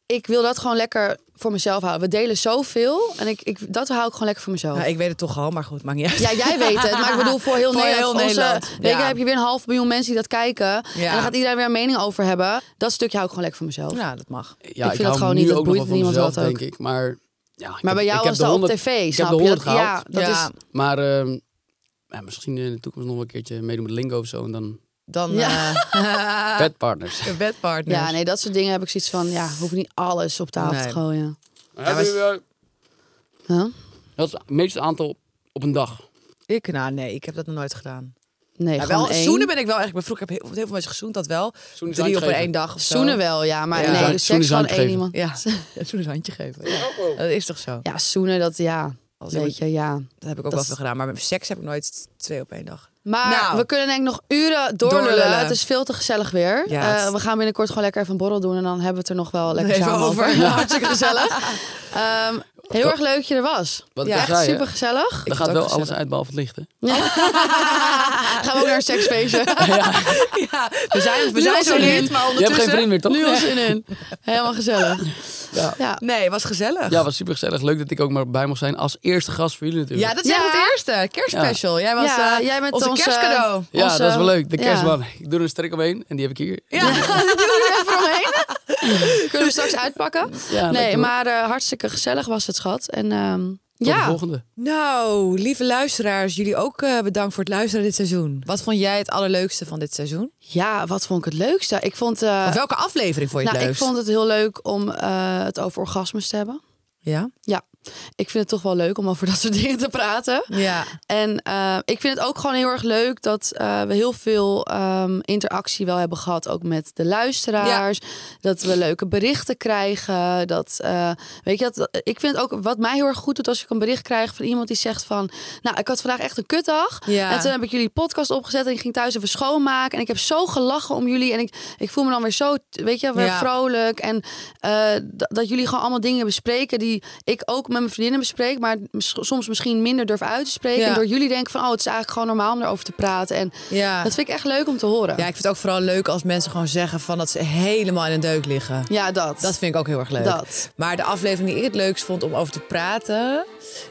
Speaker 3: Ik wil dat gewoon lekker voor mezelf houden. We delen zoveel. En ik, ik, dat hou ik gewoon lekker voor mezelf.
Speaker 2: Ja, ik weet het toch al, maar goed, maakt niet uit.
Speaker 3: Ja, jij weet het. Maar ik bedoel, voor heel
Speaker 2: Voor heel
Speaker 3: Nederland. Onze-
Speaker 2: Nederland,
Speaker 3: Weet je,
Speaker 2: ja.
Speaker 3: dan heb je weer een half miljoen mensen die dat kijken. En dan gaat iedereen weer een mening over hebben. Dat stukje hou ik gewoon lekker voor mezelf.
Speaker 2: Ja, Nou, dat mag.
Speaker 5: Ja,
Speaker 3: vind dat
Speaker 5: hou
Speaker 3: gewoon
Speaker 5: nu
Speaker 3: niet, dat
Speaker 5: ook nog wel
Speaker 3: boeit
Speaker 5: van
Speaker 3: niemand
Speaker 5: mezelf,
Speaker 3: wat ook.
Speaker 5: denk ik. Maar, ja, ik
Speaker 3: Maar bij
Speaker 5: heb-
Speaker 3: jou
Speaker 5: ik heb
Speaker 3: was
Speaker 5: de
Speaker 3: dat
Speaker 5: 100
Speaker 3: op tv, snap
Speaker 5: de
Speaker 3: je?
Speaker 5: 100
Speaker 3: Dat- ja,
Speaker 5: gehaald.
Speaker 3: dat
Speaker 2: Ja.
Speaker 3: is...
Speaker 5: Maar ehm, ja, misschien in de toekomst nog wel een keertje meedoen met Lingo of zo. En dan
Speaker 2: Dan...
Speaker 3: Ja. Ah.
Speaker 2: eh,
Speaker 5: bedpartners.
Speaker 2: Je bedpartner.
Speaker 3: Ja, nee, dat soort dingen heb ik zoiets van... Ja, hoef ik niet alles op tafel
Speaker 2: Nee.
Speaker 3: te gooien.
Speaker 2: Ja, maar-
Speaker 3: Huh?
Speaker 5: Dat is het meeste aantal op een dag.
Speaker 2: Ik, nou nee, ik heb dat nog nooit gedaan.
Speaker 3: Nee,
Speaker 2: Ja,
Speaker 3: gewoon
Speaker 2: wel,
Speaker 3: één.
Speaker 2: zoenen ben ik wel echt. Ik ben vroeger heb heel, heel veel mensen gezoend, dat wel.
Speaker 5: Zoenen is
Speaker 2: Drie op
Speaker 5: handje
Speaker 2: een
Speaker 5: geven.
Speaker 2: één dag of zo.
Speaker 3: Zoenen wel, ja. Maar
Speaker 2: Ja.
Speaker 3: nee,
Speaker 5: Zoen-
Speaker 3: dus seks
Speaker 5: zoenen is
Speaker 3: gewoon
Speaker 5: handgeven.
Speaker 3: één iemand.
Speaker 2: Ja, zoenen een handje geven. Ja.
Speaker 5: Oh,
Speaker 2: Dat is toch zo?
Speaker 3: Ja, zoenen, dat ja.
Speaker 2: Als ik-
Speaker 3: Weet je, ja.
Speaker 2: Dat heb ik ook
Speaker 3: Dat
Speaker 2: wel
Speaker 3: is-
Speaker 2: veel gedaan. Maar met seks heb ik nooit twee op één dag.
Speaker 3: Maar
Speaker 2: Nou.
Speaker 3: we kunnen denk ik nog uren doorlullen.
Speaker 2: Doorlullen.
Speaker 3: Het is veel te gezellig weer.
Speaker 2: Ja, het-
Speaker 3: Eh, we gaan binnenkort gewoon lekker even een borrel doen. En dan hebben we het er nog wel lekker
Speaker 2: Even
Speaker 3: samen over.
Speaker 2: over. Ja.
Speaker 3: Hartstikke gezellig. Ehm, heel erg leuk dat je er was.
Speaker 5: Wat
Speaker 2: Ja,
Speaker 5: ik al
Speaker 3: Echt
Speaker 5: zei, hè?
Speaker 3: super gezellig.
Speaker 5: Er
Speaker 2: Ik
Speaker 5: gaat
Speaker 2: vond het
Speaker 5: wel
Speaker 2: ook
Speaker 5: alles
Speaker 2: gezellig.
Speaker 5: uit behalve het licht, hè?
Speaker 3: gaan we ook naar een seksfeestje.
Speaker 2: Ja, we zijn, we
Speaker 3: Nul
Speaker 2: zijn zo
Speaker 3: zin in.
Speaker 2: leerd, maar
Speaker 5: Je hebt
Speaker 2: ondertussen...
Speaker 5: geen vriend meer, toch?
Speaker 3: Nu al zin in. Helemaal gezellig. Ja, ja.
Speaker 2: Nee, was gezellig.
Speaker 5: Ja, was super gezellig. Leuk dat ik ook maar bij mocht zijn als eerste gast voor jullie natuurlijk.
Speaker 2: Ja, dat is echt
Speaker 3: Ja.
Speaker 2: het eerste. Kerstspecial. Jij was eh,
Speaker 3: jij bent
Speaker 2: onze
Speaker 3: onze
Speaker 2: kerstcadeau.
Speaker 5: Ja,
Speaker 3: onze-
Speaker 5: dat is wel leuk. De
Speaker 3: eh, ja.
Speaker 5: kerstman. Ik doe er een strik omheen en die heb ik hier.
Speaker 2: Ja,
Speaker 3: Even omheen. Kunnen we straks uitpakken?
Speaker 5: Ja,
Speaker 3: nee,
Speaker 5: lekker, hoor.
Speaker 3: maar eh, hartstikke gezellig was het, schat. En ehm,
Speaker 5: Tot de
Speaker 3: ja.
Speaker 5: volgende.
Speaker 2: Nou, lieve luisteraars, jullie ook eh, bedankt voor het luisteren dit seizoen. Wat vond jij het allerleukste van dit seizoen?
Speaker 3: ja, wat vond ik het leukste? Ik vond, eh,
Speaker 2: Of welke aflevering vond je
Speaker 3: nou,
Speaker 2: het
Speaker 3: ik
Speaker 2: leukst?
Speaker 3: vond het heel leuk om eh, het over orgasmes te hebben.
Speaker 2: Ja?
Speaker 3: Ik vind het toch wel leuk om over dat soort dingen te praten.
Speaker 2: Ja.
Speaker 3: En eh, ik vind het ook gewoon heel erg leuk dat eh, we heel veel ehm, interactie wel hebben gehad. Ook met de luisteraars. Dat we leuke berichten krijgen. Dat, eh, weet je, dat- dat, ik vind het ook wat mij heel erg goed doet als ik een bericht krijg van iemand die zegt van... Nou, ik had vandaag echt een kutdag.
Speaker 2: Ja.
Speaker 3: En toen heb ik jullie podcast opgezet en ik ging thuis even schoonmaken. En ik heb zo gelachen om jullie. En ik, ik voel me dan weer zo, weet je, weer
Speaker 2: Ja.
Speaker 3: vrolijk. En eh, d- dat jullie gewoon allemaal dingen bespreken die ik ook met mijn vriendinnen bespreek. Maar mis- soms misschien minder durf uit te spreken.
Speaker 2: Ja.
Speaker 3: En door jullie denk ik van, oh, het is eigenlijk gewoon normaal om erover te praten. En
Speaker 2: Ja.
Speaker 3: dat vind ik echt leuk om te horen.
Speaker 2: ja, ik vind het ook vooral leuk als mensen gewoon zeggen van dat ze helemaal in een deuk liggen.
Speaker 3: Ja, dat.
Speaker 2: Dat vind ik ook heel erg leuk.
Speaker 3: Dat.
Speaker 2: Maar de aflevering die ik het leukst vond om over te praten,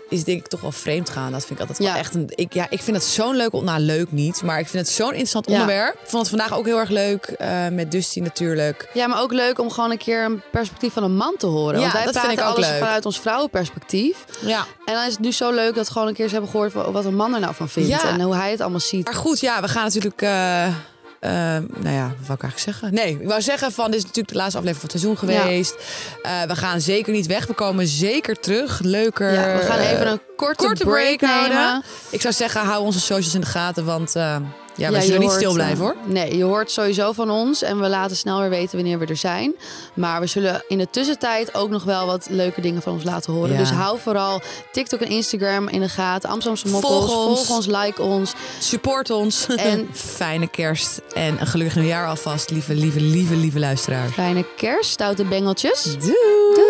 Speaker 2: is denk ik toch wel vreemd gaan. Dat vind ik altijd
Speaker 3: Ja.
Speaker 2: wel echt een. Ik, ja, ik vind het zo'n leuk. on- Nou, leuk niet, maar ik vind het zo'n interessant
Speaker 3: Ja.
Speaker 2: onderwerp. Ik vond het vandaag ook heel erg leuk eh, met Dusty natuurlijk.
Speaker 3: Ja, maar ook leuk om gewoon een keer een perspectief van een man te horen.
Speaker 2: Ja,
Speaker 3: Want wij
Speaker 2: dat vind
Speaker 3: praten
Speaker 2: ik ook
Speaker 3: alles
Speaker 2: leuk.
Speaker 3: vanuit ons vrouwenperspectief.
Speaker 2: Ja.
Speaker 3: En dan is het nu zo leuk dat we gewoon een keer eens hebben gehoord van wat een man er nou van vindt.
Speaker 2: Ja.
Speaker 3: En hoe hij het allemaal ziet.
Speaker 2: Maar goed, ja, we gaan natuurlijk. eh, eh, nou ja, wat wou ik eigenlijk zeggen? Nee, ik wou zeggen van, dit is natuurlijk de laatste aflevering van het seizoen
Speaker 3: Ja.
Speaker 2: geweest. Eh, we gaan zeker niet weg. We komen zeker terug. Leuker.
Speaker 3: Ja, we gaan
Speaker 2: eh,
Speaker 3: even een korte,
Speaker 2: korte
Speaker 3: break,
Speaker 2: break
Speaker 3: nemen.
Speaker 2: houden. Ik zou zeggen, hou onze socials in de gaten, want eh, ja,
Speaker 3: Ja,
Speaker 2: wij
Speaker 3: je
Speaker 2: zullen niet
Speaker 3: hoort,
Speaker 2: stil
Speaker 3: eh,
Speaker 2: blijven hoor.
Speaker 3: Nee, je hoort sowieso van ons en we laten snel weer weten wanneer we er zijn. Maar we zullen in de tussentijd ook nog wel wat leuke dingen van ons laten horen.
Speaker 2: Ja.
Speaker 3: Dus hou vooral TikTok en Instagram in de gaten. Amsterdamse mokkels,
Speaker 2: Volg ons.
Speaker 3: volg ons, like ons.
Speaker 2: Support ons.
Speaker 3: En-
Speaker 2: fijne kerst. En een gelukkig nieuwjaar alvast, lieve, lieve, lieve, lieve luisteraar.
Speaker 3: Fijne kerst, stoute bengeltjes.
Speaker 2: Doei.